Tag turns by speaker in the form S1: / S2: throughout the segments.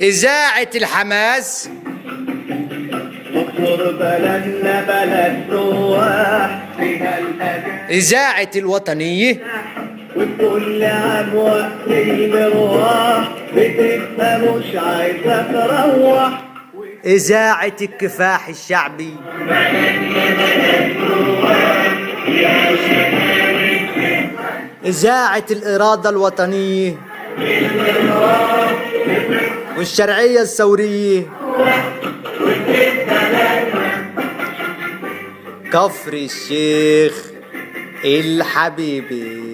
S1: إذاعة الحماس
S2: دكتور بلدنا بلد رواح فيها الأجانب
S1: إذاعة الوطنية
S2: وبكل عام وقت المرواح بتبقى مش عايزة تروح
S1: إذاعة الكفاح الشعبي إذاعة الإرادة الوطنية والشرعية الثورية كفر الشيخ الحبيبي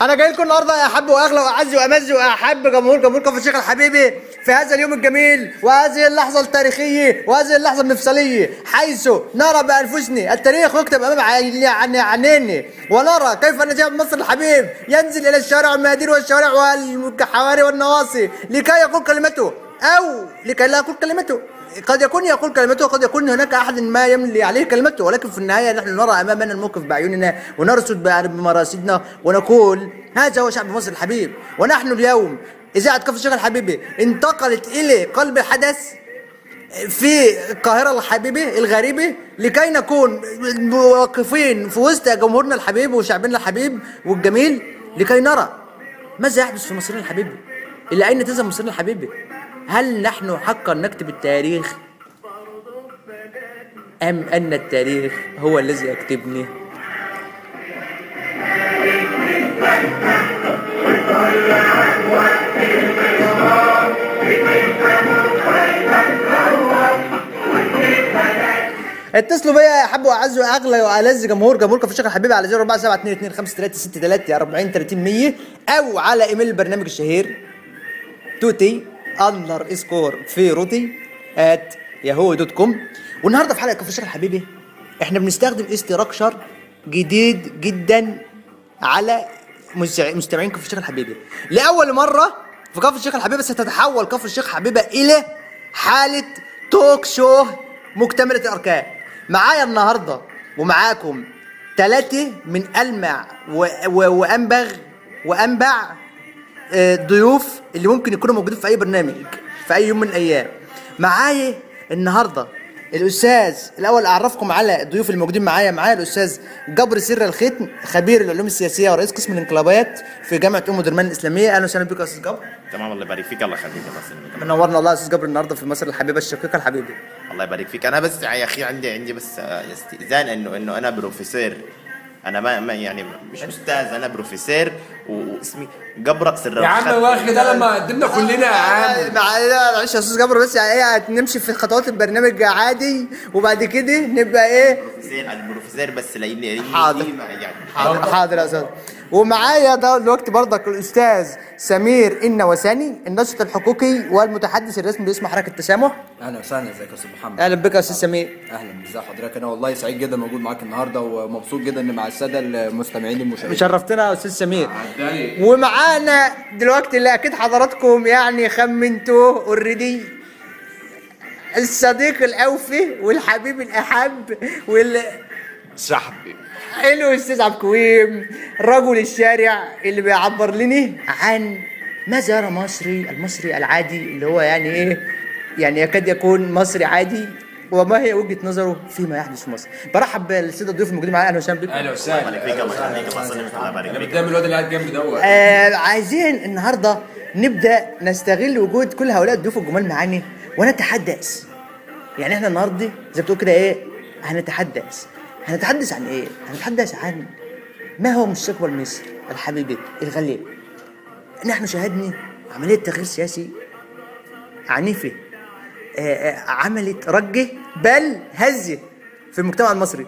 S1: انا جاي لكم النهارده يا احب واغلى واعز وامز واحب جمهور جمهور كفر الشيخ الحبيبي في هذا اليوم الجميل وهذه اللحظه التاريخيه وهذه اللحظه المفصليه حيث نرى بانفسنا التاريخ يكتب امام عيني- عن- عنينا ونرى كيف ان شعب مصر الحبيب ينزل الى الشوارع والميادين والشوارع والحواري والنواصي لكي يقول كلمته او لكي لا يقول كلمته قد يكون يقول كلمته وقد يكون هناك احد ما يملي عليه كلمته ولكن في النهايه نحن نرى امامنا الموقف باعيننا ونرصد بأ- بمراصدنا ونقول هذا هو شعب مصر الحبيب ونحن اليوم اذاعه كفر الشيخ الحبيبي انتقلت الى قلب الحدث في القاهرة الحبيبة الغريبة لكي نكون واقفين في وسط جمهورنا الحبيب وشعبنا الحبيب والجميل لكي نرى ماذا يحدث في مصرنا الحبيبة إلى أين تذهب مصرنا الحبيبة هل نحن حقا نكتب التاريخ أم أن التاريخ هو الذي يكتبني اتصلوا بيا يا حب واعز واغلى والذ جمهور جمهورك في الشيخ الحبيبي على 0472225363 40 30 100 او على ايميل البرنامج الشهير توتي اندر سكور فيروتي ات ياهو دوت كوم والنهارده في حلقه كفر الشيخ الحبيبي احنا بنستخدم استراكشر جديد جدا على مستع- مستمعين كفر الشيخ الحبيبي لاول مره في كفر الشيخ الحبيبي ستتحول كفر الشيخ الحبيبي الى حاله توك شو مكتمله الاركان معايا النهارده ومعاكم ثلاثه من المع و... و... وانبغ وانبع آه، ضيوف اللي ممكن يكونوا موجودين في اي برنامج في اي يوم من الايام معايا النهارده الاستاذ الاول اعرفكم على الضيوف الموجودين معايا معايا الاستاذ جبر سر الختم خبير العلوم السياسيه ورئيس قسم الانقلابات في جامعه ام درمان الاسلاميه اهلا وسهلا بك يا استاذ جبر
S3: تمام الله يبارك فيك الله يخليك يا باسل
S1: منورنا والله يا استاذ جبر النهارده في مصر الحبيبه الشقيقه الحبيبه
S3: الله يبارك فيك انا بس يا اخي عندي عندي بس آه، استئذان انه انه انا بروفيسور انا ما, ما يعني مش استاذ انا بروفيسور و- واسمي جبرق سر
S4: يا عم واخد ده لما قدمنا كلنا يا
S1: معلش
S4: عم
S1: معلش يا استاذ جبر بس يعني ايه نمشي في خطوات البرنامج عادي وبعد كده نبقى ايه
S3: بروفيسور انا بروفيسور بس لاني لأني
S1: حاضر.
S3: دي ما- يعني
S1: حاضر حاضر يا استاذ ومعايا ده الوقت برضك الاستاذ سمير النوساني الناشط الحقوقي والمتحدث الرسمي باسم حركه التسامح
S5: اهلا وسهلا ازيك يا استاذ محمد
S1: اهلا بك يا استاذ سمير
S5: اهلا ازي حضرتك انا والله سعيد جدا موجود معاك النهارده ومبسوط جدا ان مع الساده المستمعين المشاهدين
S1: شرفتنا يا استاذ سمير ومعانا دلوقتي اللي اكيد حضراتكم يعني خمنتوه اوريدي الصديق الاوفي والحبيب الاحب وال
S6: صاحبي
S1: حلو استاذ عبد الكويم رجل الشارع اللي بيعبر لنا عن ماذا يرى مصري المصري العادي اللي هو يعني ايه يعني يكاد يكون مصري عادي وما هي وجهه نظره فيما يحدث في مصر برحب بالسيد الضيوف الموجودين معايا اهلا وسهلا بكم
S4: اهلا
S3: الله
S4: وسهلا
S3: يبارك فيك الله يخليك يا باسل الله يبارك
S4: انا
S3: فيك
S4: قدام الواد اللي قاعد جنبي دوت
S1: آه عايزين النهارده نبدا نستغل وجود كل هؤلاء الضيوف الجمال معانا ونتحدث يعني احنا النهارده زي ما بتقول كده ايه هنتحدث هنتحدث عن ايه هنتحدث عن ما هو مستقبل مصر الحبيبه الغاليه نحن شاهدنا عمليه تغيير سياسي عنيفه آه، آه، عملت رجه بل هزه في المجتمع المصري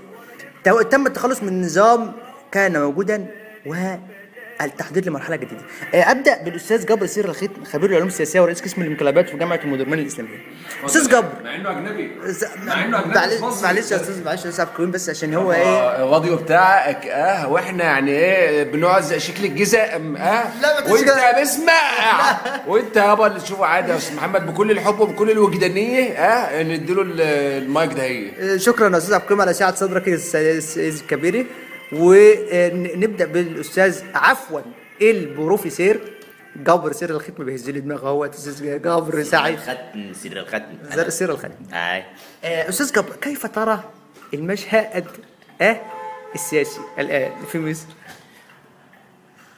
S1: تو- تم التخلص من نظام كان موجودا و التحضير لمرحله جديده آه، ابدا بالاستاذ جبر سير الخيط خبير العلوم السياسيه ورئيس قسم الانقلابات في جامعه المدرمان الاسلاميه استاذ جبر
S4: مع انه اجنبي
S1: ز-
S4: مع انه اجنبي
S1: معلش
S4: في مصر.
S1: معلش يا استاذ معلش يا استاذ عبد الكريم بس عشان هو ايه
S4: آه، غاضي بتاعك اه واحنا يعني ايه بنعز شكل الجزاء ام اه
S1: لا، ما فيش
S4: وانت
S1: كده.
S4: بسمع وانت يابا اللي تشوفه عادي يا استاذ محمد بكل الحب وبكل الوجدانيه اه نديله ال- المايك ده هي
S1: آه، شكرا يا استاذ عبد الكريم على سعه صدرك يا استاذ كبيري ونبدا بالاستاذ عفوا البروفيسير جبر سير الخيط ما بيهز لي دماغه هو استاذ جبر سعيد
S3: الختم سر الختم
S1: زر سير الخيط
S3: اي
S1: آه، استاذ جبر كيف ترى المشهد آه السياسي الان في مصر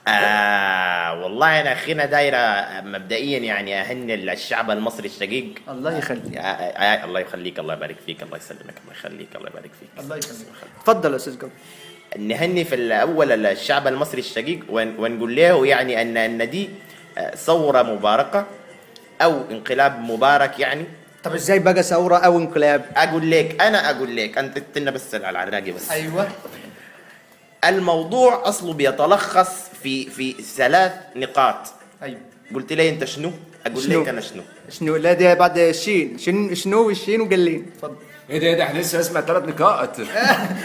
S3: آه والله انا اخينا دايره مبدئيا يعني اهني الشعب المصري الشقيق
S1: الله يخليك
S3: آه، آه، آه، الله يخليك الله يبارك فيك الله يسلمك الله يخليك الله يبارك فيك
S1: الله يخليك اتفضل يا استاذ جبر
S3: نهني في الاول الشعب المصري الشقيق ون- ونقول له يعني ان ان دي آه، ثوره مباركه او انقلاب مبارك يعني
S1: طب ازاي بقى ثوره او انقلاب
S3: اقول لك انا اقول لك انت تنا بس على العراقي بس
S1: ايوه
S3: الموضوع اصله بيتلخص في في ثلاث نقاط
S1: ايوه
S3: قلت لي انت شنو اقول
S1: شنو؟
S3: لك انا شنو
S1: شنو لا ده بعد الشين شن شنو والشين وقلين اتفضل
S4: ايه ده ايه ده احنا لسه نسمع ثلاث نقاط
S1: إيه؟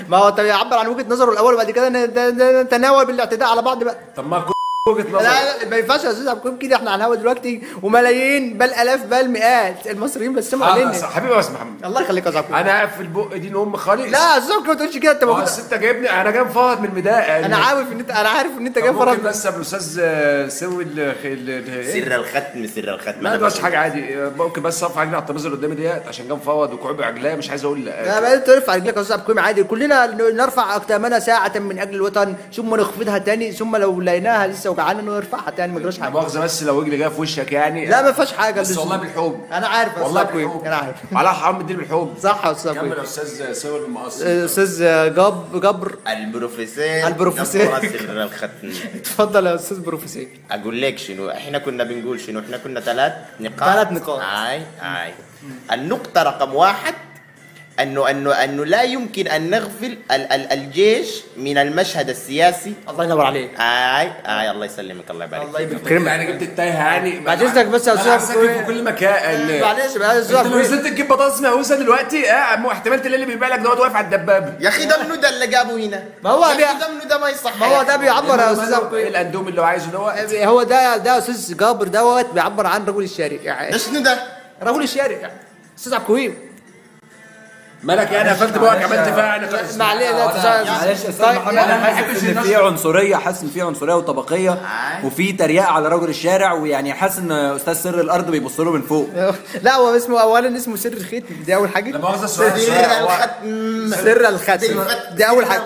S1: ما هو طب يعبر عن وجهه نظره الاول وبعد كده ن- ده- ده- نتناول بالاعتداء على بعض بقى
S4: طب ما كل وجهه
S1: لا
S4: نظر
S1: لا ما ينفعش يا استاذ عبد الكريم كده احنا على الهوا دلوقتي وملايين بل الاف بل مئات المصريين بيسمعوا
S4: خلاص،
S1: علينا
S4: آه، حبيبي يا استاذ محمد
S1: الله يخليك يا استاذ عبد الكريم
S4: انا قاعد في البق دي ام خالص
S1: لا يا استاذ عبد الكريم ما تقولش كده انت
S4: ما هو
S1: موجود
S4: أصل انت جايبني انا جايب فهد من الميدان
S1: انا عارف ان انت انا عارف ان انت جاي
S4: ممكن
S1: فرض
S4: بس يا الاستاذ آه، سوي ال- ال- ال- إيه؟
S3: سر الختم سر الختم
S4: ما
S3: أنا
S4: بس
S3: بقول-
S4: حاجه عادي آه، ممكن بس اقف عجلي على الترابيزه اللي قدامي ديت عشان جنب فوض وكعب عجليه مش عايز آه، اقول
S1: لا
S4: لا
S1: بقى انت ارفع رجلك يا استاذ عبد الكريم عادي كلنا ن- نرفع اقدامنا ساعة من اجل الوطن ثم نخفضها تاني ثم لو لقيناها لسه وجعانه نرفعها تاني ما نجراش
S4: لا
S1: حاجة
S4: مؤاخذه بس لو رجلي جايه في وشك يعني
S1: لا ما فيهاش حاجة
S4: بس والله بالحب
S1: انا عارف يا استاذ
S4: والله
S1: عبد الكريم
S4: بالحب
S1: انا عارف
S4: على حرام الدين بالحب
S1: صح يا استاذ عبد
S4: كمل
S1: الكريم
S4: يا استاذ سوي المقص
S1: استاذ جاب جبر
S3: البروفيسور
S1: البروفيسور.
S3: نقرأ سر الختم
S1: اتفضل يا استاذ بروفيسور
S3: اقول لك شنو احنا كنا بنقول شنو احنا كنا ثلاث نقاط
S1: ثلاث نقاط.
S3: اي اي النقطه رقم واحد انه انه انه لا يمكن ان نغفل ال ال الجيش من المشهد السياسي
S1: الله ينور عليك
S3: اي اي الله يسلمك الله يبارك
S1: الله
S3: فيك.
S1: يبارك
S4: كريم يعني جبت التايه يعني
S1: بعد إذنك بس يا أستاذ
S4: أنا حاسسك
S1: أبوي.
S4: في كل مكان
S1: معلش بقى يا
S4: انت لو
S1: استاذ
S4: نزلت تجيب بطاطس مهوسه دلوقتي اه مو احتمال تلاقي اللي بيبيع لك دوت واقف على الدبابه
S3: يا اخي ده منو ده اللي جابه هنا
S1: ما هو
S3: يا أخي
S1: بيع-
S3: ده منو ده ما يصح
S1: ما هو
S3: يا
S1: ده
S3: أخي.
S1: بيعبر يا استاذ عبد
S4: ايه
S1: الكريم
S4: الاندوم اللي هو عايزه دوت
S1: هو ده ده استاذ جابر دوت بيعبر عن رجل الشارع يعني
S3: ده شنو ده
S1: رجل الشارع استاذ عبد الكريم
S4: مالك يعني قفلت بقى عملت فيها يعني خلاص.
S1: معلش لا تزعل.
S5: معلش يا استاذ
S1: طيب،
S5: محمد
S1: يعني
S5: انا
S4: ما بحبش
S5: حاسس ان
S4: النشر.
S5: في عنصريه حاسس ان في عنصريه وطبقيه وفي تريقه على رجل الشارع ويعني حاسس ان استاذ سر الارض بيبص له من فوق
S1: لا هو اسمه اولا اسمه سر الخيط دي اول
S4: لا
S1: حاجه
S4: مؤاخذه سؤال
S3: سر
S4: سؤال هو-
S3: الختم
S1: سر الختم دي اول حاجه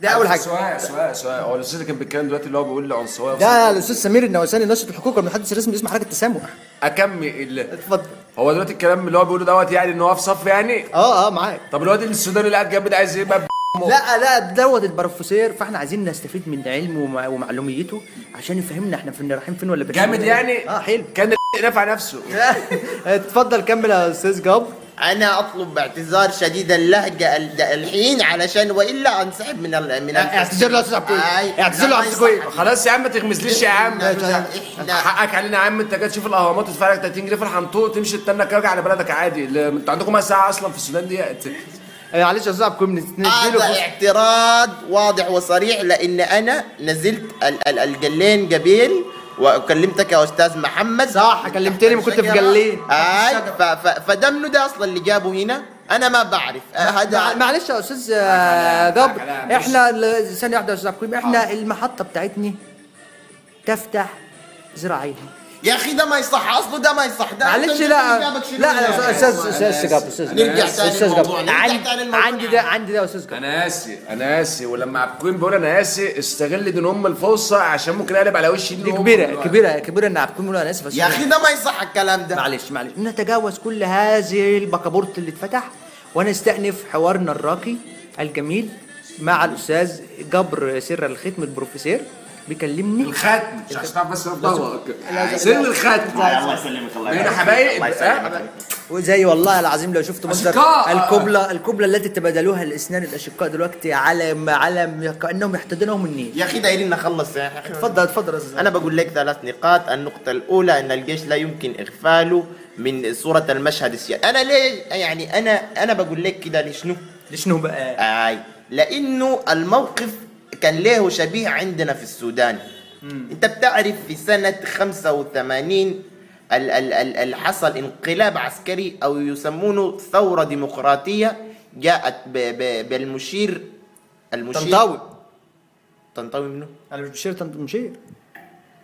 S1: دي اول حاجه
S4: سؤال سؤال سؤال هو الاستاذ اللي كان بيتكلم دلوقتي اللي هو بيقول لي عنصريه
S1: ده الاستاذ سمير النواساني ناشط الحقوق المحدث الرسمي اسمه حركه التسامح
S4: اكمل ال-
S1: اتفضل
S4: هو دلوقتي الكلام اللي هو بيقوله دوت يعني ان هو في صف يعني
S1: اه اه معاك
S4: طب الواد السوداني اللي قاعد جنبي ده عايز ايه بقى
S1: لا لا دوت البروفيسور فاحنا عايزين نستفيد من علمه ومع- ومعلوميته عشان يفهمنا احنا فين رايحين فين ولا بنعمل
S4: جامد
S1: إيه.
S4: يعني
S1: اه حلو
S4: كان نافع نفسه
S1: اتفضل كمل يا استاذ جاب
S3: انا اطلب اعتذار شديد اللهجه ال- الحين علشان والا انسحب من ال من ال-
S1: اعتذر له يا أستاذ عبد الكويت.
S3: أي- نعم،
S1: اعتذر له يا عبد الكويت.
S4: خلاص يا عم ما تغمزليش يا عم
S3: إحنا- إحنا-
S4: حقك علينا يا عم انت جاي تشوف الاهرامات وتدفع لك 30 جنيه في الحنطور تمشي تستناك راجع على بلدك عادي ال- انتوا عندكم كام ساعه اصلا في السودان ديت
S1: آه، معلش يا استاذ عبد الكريم نديله
S3: هذا
S1: فرصة.
S3: اعتراض واضح وصريح لان انا نزلت ال- ال- الجلين قبيل وكلمتك يا استاذ محمد
S1: صح، كلمتني ما كنت في جلين.
S3: اي ف- ف- فده منو ده اصلا اللي جابه هنا انا ما بعرف آه،
S1: مع-
S3: هذا
S1: معلش يا استاذ آه، جاب
S4: كلام.
S1: احنا ال- ثانيه واحده يا استاذ عبد الكريم احنا
S3: آه.
S1: المحطه بتاعتنا تفتح زراعيها
S3: يا اخي ده ما يصح اصله ده ما يصح ده
S1: معلش
S3: أنت
S1: لا
S3: جابك شنو
S1: لا
S3: هنا؟
S1: يا استاذ استاذ جاب استاذ
S3: نرجع تاني
S1: استاذ جاب
S3: للموضوع، نرجع
S1: عندي
S3: تاني للموضوع.
S1: عندي ده عندي ده يا استاذ جاب
S4: انا اسي انا اسي ولما عبد الكريم بيقول انا اسي استغل دي ام الفرصه عشان ممكن اقلب على وشي
S1: دي كبيره كبيره كبيره ان عبد الكريم يقول انا اسف بس
S3: يا اخي ده ما يصح الكلام ده
S1: معلش معلش نتجاوز كل هذه البكابورت اللي اتفتح ونستأنف حوارنا الراقي الجميل مع الأستاذ جبر سر الختم البروفيسور بيكلمني
S4: الختم مش هتعرف بس تطلق
S1: لازم-
S4: سن
S1: لازم-
S4: الختم
S3: آه، الله يسلمك الله
S4: هنا
S3: يبارك فيك،
S4: حبايب
S3: الله يسلمك
S4: آه،
S1: وزي والله العظيم لو شفت مصدر
S4: أشقاء.
S1: القبلة القبلة التي تبادلوها الاسنان الاشقاء دلوقتي علم علم كانهم يحتضنهم النيل
S3: يا اخي دايرين نخلص يا اخي
S1: اتفضل اتفضل يا أستاذ.
S3: أنا بقول لك ثلاث نقاط، النقطة الأولى أن الجيش لا يمكن إغفاله من صورة المشهد السياسي، أنا ليه يعني أنا أنا بقول لك كده لشنو؟
S1: شنو بقى
S3: آي لأنه الموقف كان له شبيه عندنا في السودان. أنت بتعرف في سنة 85 ال- ال- ال- ال- حصل انقلاب عسكري أو يسمونه ثورة ديمقراطية جاءت ب- ب- بالمشير المشير
S1: طنطاوي
S3: طنطاوي منه؟
S1: انا مش مشير طنط مشير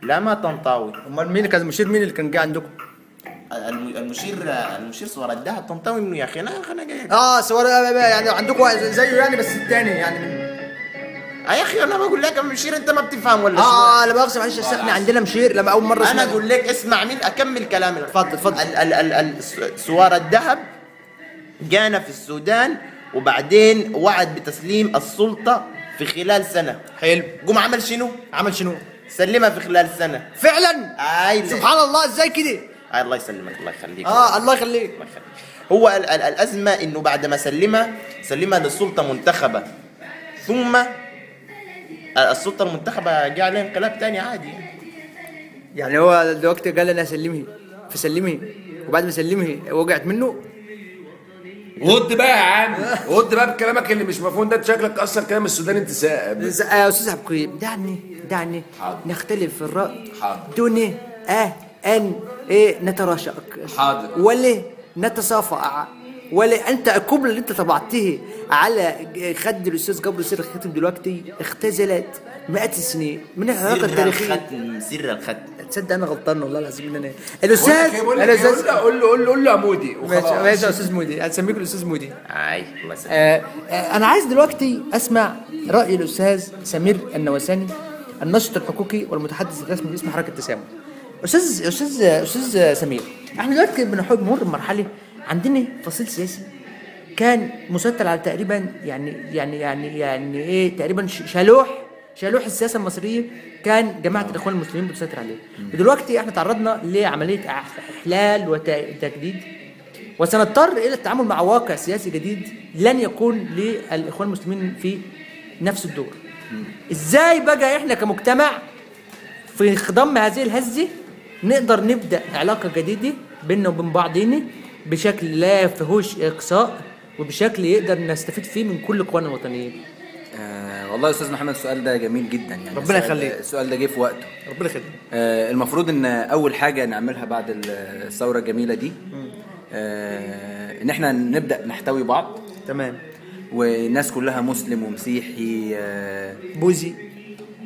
S3: لا ما طنطاوي
S1: امال مين كان مشير مين اللي كان جه عندكم
S3: الم- المشير المشير صور الدهب طنطاوي منه يا اخي انا انا جاي
S1: اه سوار يعني عندكم زيه يعني بس الثاني يعني
S3: آه يا اخي انا بقول لك المشير انت ما بتفهم ولا شنو
S1: اه لا مؤاخذه معلش أصل احنا عندنا مشير لما اول مره
S3: انا
S1: سمعت-
S3: اقول لك اسمع مين اكمل كلامي
S1: اتفضل، اتفضل.
S3: ال ال ال ال س- سوار الدهب جانا في السودان وبعدين وعد بتسليم السلطه في خلال سنه
S1: حلو
S3: قوم عمل شنو؟
S1: عمل شنو
S3: سلمها في خلال سنه
S1: فعلا
S3: اي لا.
S1: سبحان الله ازاي كده
S3: آي آه، الله يسلمك الله يخليك
S1: اه الله يخليك
S3: الله يخليك هو ال- ال- الازمه انه بعد ما سلمها سلمها لسلطه منتخبه ثم آه، السلطه المنتخبه جاء عليها انقلاب تاني عادي
S1: يعني هو دلوقتي قال انا هسلمه فسلمه وبعد ما سلمه وقعت منه
S4: رد بقى يا عم رد بقى بكلامك اللي مش مفهوم ده انت شكلك اصلا كلام السودان انتساب
S1: ز- آه، استاذ عبد القيوم دعني دعني
S4: حاضر.
S1: نختلف في الراي
S4: حاضر.
S1: دون اه ان ايه نتراشق
S4: حاضر.
S1: ولا نتصافع ولا انت الكبل اللي انت طبعته على خد الاستاذ جبر سير الخاتم دلوقتي اختزلت مئات السنين من العلاقه التاريخيه
S3: الختم سر الختم
S1: تصدق انا غلطان والله العظيم ان انا
S4: بقول لك
S1: الاستاذ
S4: ايه، بقول لك ايه،
S1: الاستاذ
S4: قول له- قول له قول له قول له يا مودي
S1: ماشي
S4: وخلاص
S1: ماشي يا استاذ مودي هنسميك الاستاذ مودي
S3: اي إيه، الله يسلمك
S1: آه، آه، انا عايز دلوقتي اسمع راي الاستاذ سمير النواساني الناشط الحقوقي والمتحدث الرسمي باسم حركه تسامح استاذ استاذ استاذ سمير احنا دلوقتي بنحب نمر بمرحله عندنا فصيل سياسي كان مسيطر على تقريبا يعني يعني يعني يعني ايه تقريبا ش- شالوح شالوح السياسه المصريه كان جماعه الاخوان المسلمين بتسيطر عليه ودلوقتي احنا تعرضنا لعمليه احلال وتجديد وسنضطر الى التعامل مع واقع سياسي جديد لن يكون للاخوان المسلمين في نفس الدور ازاي بقى احنا كمجتمع في خضم هذه الهزه نقدر نبدا علاقه جديده بيننا وبين بعضينا بشكل لا فيهوش اقصاء وبشكل يقدر نستفيد فيه من كل قوانا الوطنيين
S5: آه والله يا استاذ محمد السؤال ده جميل جدا يعني
S1: ربنا
S5: السؤال-
S1: يخليك.
S5: السؤال ده جه في وقته
S1: ربنا يخليك
S5: آه، المفروض ان اول حاجه نعملها بعد الثوره الجميله دي آه، ان احنا نبدا نحتوي بعض
S1: تمام
S5: والناس كلها مسلم ومسيحي آه،
S1: بوزي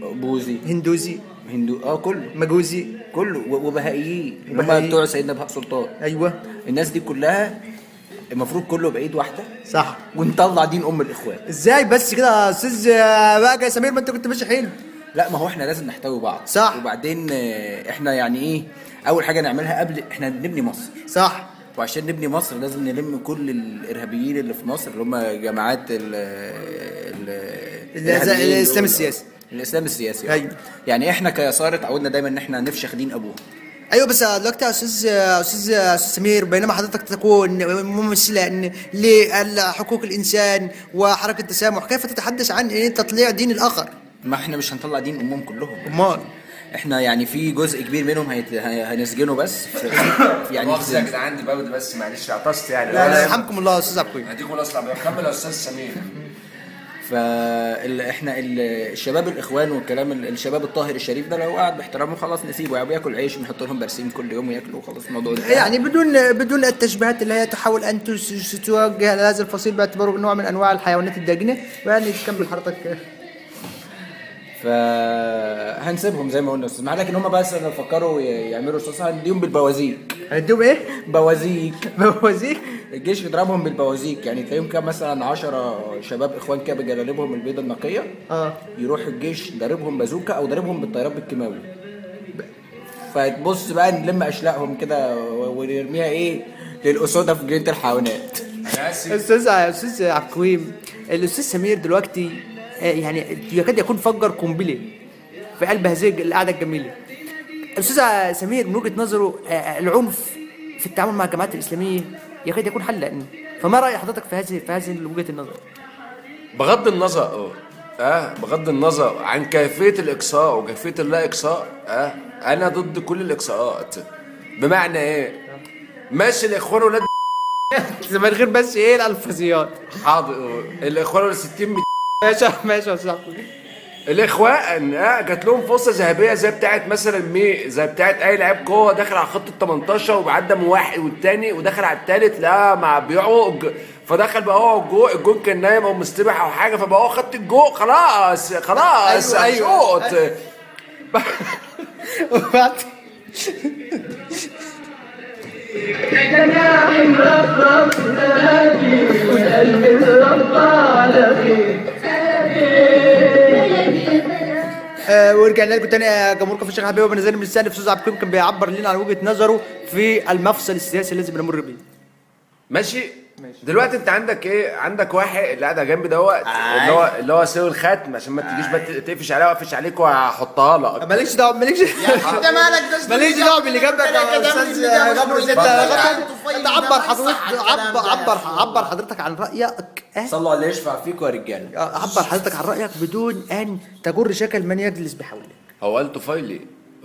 S5: بوذي
S1: هندوزي
S5: هندو اه كله
S1: مجوزي
S5: كله و- وبهائيين اللي هم
S1: بهائي.
S5: بتوع سيدنا بهاء سلطان
S1: ايوه
S5: الناس دي كلها المفروض كله بايد واحده
S1: صح
S5: ونطلع دين ام الاخوان
S1: ازاي بس كده يا استاذ بقى يا سمير ما انت كنت ماشي حلو
S5: لا ما هو احنا لازم نحتوي بعض
S1: صح.
S5: وبعدين آه، احنا يعني ايه اول حاجه نعملها قبل احنا بنبني مصر
S1: صح
S5: وعشان نبني مصر لازم نلم كل الارهابيين اللي في مصر اللي هم جماعات ال ال الإرهابيين
S1: الإسلام
S5: دول.
S1: السياسي.
S5: الاسلام السياسي
S1: أيوة.
S5: يعني احنا كيسار اتعودنا دايما ان احنا نفشخ دين ابوه
S1: ايوه بس دلوقتي يا استاذ استاذ أستاذ سمير بينما حضرتك تكون ممثلا لحقوق الانسان وحركه التسامح كيف تتحدث عن إيه تطليع دين الاخر؟
S5: ما احنا مش هنطلع دين امهم كلهم
S1: امال
S5: احنا يعني في جزء كبير منهم هيت... هي- هنسجنه بس في... يعني
S4: مؤاخذة يا
S5: في...
S4: جدعان دي بابد بس معلش عطست يعني
S1: لا لا
S4: ولا-
S1: يرحمكم الله يا استاذ عبد القيوم
S4: هديكم الاصل عبد كمل يا استاذ سمير
S5: فا ال... احنا ال... الشباب الاخوان والكلام ال... الشباب الطاهر الشريف ده لو قعد باحترامه خلاص نسيبه يعني بياكل عيش نحط لهم برسيم كل يوم وياكلوا وخلاص الموضوع ده
S1: يعني بدون بدون التشبيهات اللي هي تحاول ان تس- توجه لهذا الفصيل باعتباره نوع من انواع الحيوانات الداجنه ويعني تكمل حضرتك
S5: فهنسيبهم زي ما قلنا استاذ مع لكن هم بس لو فكروا ي- يعملوا رصاص هنديهم بالبوازيك
S1: هندوم ايه؟
S5: بوازيك
S1: بوازيك
S5: الجيش بيضربهم بالبوازيك يعني تلاقيهم كده مثلا 10 شباب اخوان كده بجلالبهم البيضه النقيه
S1: اه
S5: يروح الجيش ضاربهم بازوكا او ضاربهم بالطيارات بالكيماوي فتبص بقى نلم اشلاقهم كده و- ونرميها ايه للاسوده في جنينه الحيوانات
S4: انا اسف
S1: استاذ استاذ عبد القويم الاستاذ سمير دلوقتي آه، يعني يكاد يكون فجر قنبله في قلب هذه القعده الجميله الاستاذ سمير من وجهه نظره آه، العنف في التعامل مع الجماعات الاسلاميه يكاد يكون حل لأنه فما راي حضرتك في هذه في هذه وجهه النظر؟
S4: بغض النظر اه اه بغض النظر عن كيفيه الاقصاء وكيفيه اللا اقصاء اه انا ضد كل الاقصاءات بمعنى ايه؟ ماشي الاخوان ولاد
S1: من غير بس ايه الالفاظيات
S4: حاضر الاخوان ولاد 60
S1: ماشي ماشي يا صاحبي
S4: الاخوان اه جات لهم فرصه ذهبيه زي بتاعت مثلا مي زي بتاعت اي لعيب قوه دخل على خط ال 18 وعدى من واحد والتاني ودخل على التالت لا مع بيعوج فدخل بقى هو على الجو الجون كان نايم او مستبح او حاجه فبقى هو خط الجو خلاص خلاص
S1: أيوة، أيوة.
S4: شوط
S1: وبعد- آه، ورجعنا لكم تاني يا جمهور كفر الشيخ حبيبي وبنزل من السالف استاذ عبد القيوم كان بيعبر لنا عن وجهه نظره في المفصل السياسي اللي لازم نمر بيه
S4: ماشي دلوقتي انت عندك ايه عندك واحد اللي قاعد جنبي دوت اللي هو اللي هو سوي الختم عشان ما تجيش بقى تقفش عليها واقفش عليك وهحطها لك
S1: آه، مالكش دعوه مالكش
S3: انت مالك ده
S1: ماليش دعوه باللي جنبك يا استاذ غبر انت انت عبر حضرتك عبر عبر عبر حضرتك عن رايك آه.
S5: صلوا عليه يشفع فيكم يا رجاله
S1: عبر حضرتك عن رايك بدون ان تجر شكل من يجلس بحولك
S4: هو قال طفيلي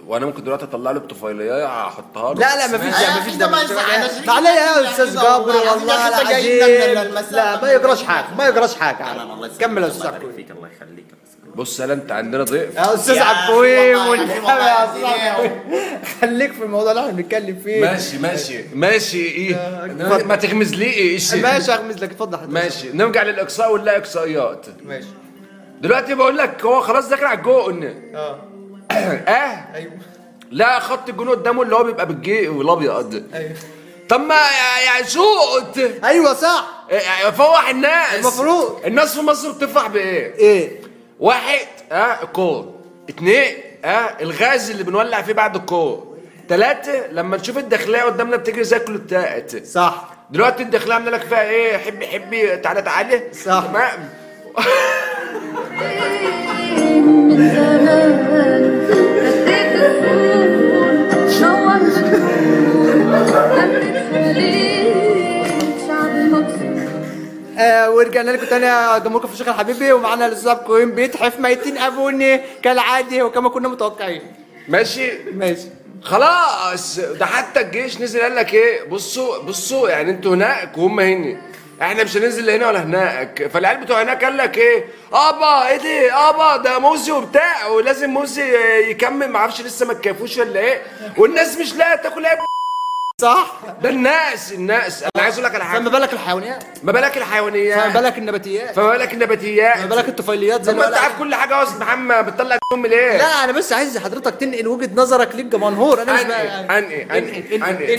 S4: وانا ممكن دلوقتي اطلع له بطفيليه هحطها له
S1: لا لا مفيش
S3: يا
S1: لا
S3: أخي
S1: مفيش
S3: ده
S1: ده
S3: ما
S1: مفيش
S3: يزعلناش.
S1: ده يعني عليا يا استاذ
S3: والله
S1: جابر
S3: العظيم يا
S1: والله
S3: أخي أنت جاي لنا من
S1: العظيم
S3: المسافة.
S1: لا ما يجراش حاجه ما يجراش حاجه
S3: الله يسلمك،
S1: كمل يا
S3: الله
S1: استاذ عبد
S3: يبارك
S1: القوي
S3: فيك الله يخليك
S4: بص يا انت عندنا ضيف
S1: يا استاذ
S3: يا
S1: عبد القوي
S3: أخي والله يا أخي
S1: والنعمة يا استاذ
S3: والله
S1: عبد القوي. خليك في الموضوع اللي احنا بنتكلم فيه
S4: ماشي ماشي ماشي ايه
S1: اتفضل.
S4: ما تغمز لي ايه
S1: آه، ماشي اغمز لك اتفضل حضرتك.
S4: ماشي نرجع للاقصاء واللا اقصائيات
S1: ماشي
S4: دلوقتي بقول لك هو خلاص داخل على الجون
S1: اه
S4: اه
S1: ايوه
S4: لا خط الجون قدامه اللي هو بيبقى بالجي والابيض
S1: ايوه
S4: طب ما يعني شوط
S1: ايوه صح
S4: يعني فوح الناس
S1: المفروض.
S4: الناس في مصر بتفرح بايه؟
S1: ايه
S4: واحد اه الكور اتنين اه الغاز اللي بنولع فيه بعد الكور تلاتة لما نشوف الداخلية قدامنا بتجري زي كل بتاعت
S1: صح
S4: دلوقتي الداخلية عاملة لك فيها ايه حبي حبي تعالى تعالى
S1: صح.
S4: تمام
S1: آه ورجعنا لكم تاني يا جمهور كفر الشيخ الحبيبي ومعانا الاستاذ عبد القويم بيتحف ميتين ابوني كالعاده وكما كنا متوقعين
S4: ماشي
S1: ماشي
S4: خلاص ده حتى الجيش نزل قال لك ايه بصوا بصوا يعني انتوا هناك وهم هنا احنا مش هننزل هنا ولا هناك فالعيال بتوع هناك قال لك ايه ابا ايه دي ابا ده موزي وبتاع ولازم موزي يكمل معرفش لسه ما تكافوش ولا ايه والناس مش لاقيه تاكل ايه
S1: صح
S4: ده الناس الناس انا عايز اقول لك على
S1: فما
S4: حاجه
S1: بالك الحيوانات
S4: ما بالك
S1: فما
S4: الحيوانيات
S1: بالك النباتيات
S4: فما بالك النباتيات
S1: فما بالك الطفيليات زي
S4: طب ما انت
S1: الورق.
S4: عارف كل حاجه يا استاذ محمد بتطلع إيه؟ امي ليه؟
S1: لا انا بس عايز حضرتك تنقل وجهه نظرك للجمهور انا مش بقى
S4: انقي انقي انقي انقي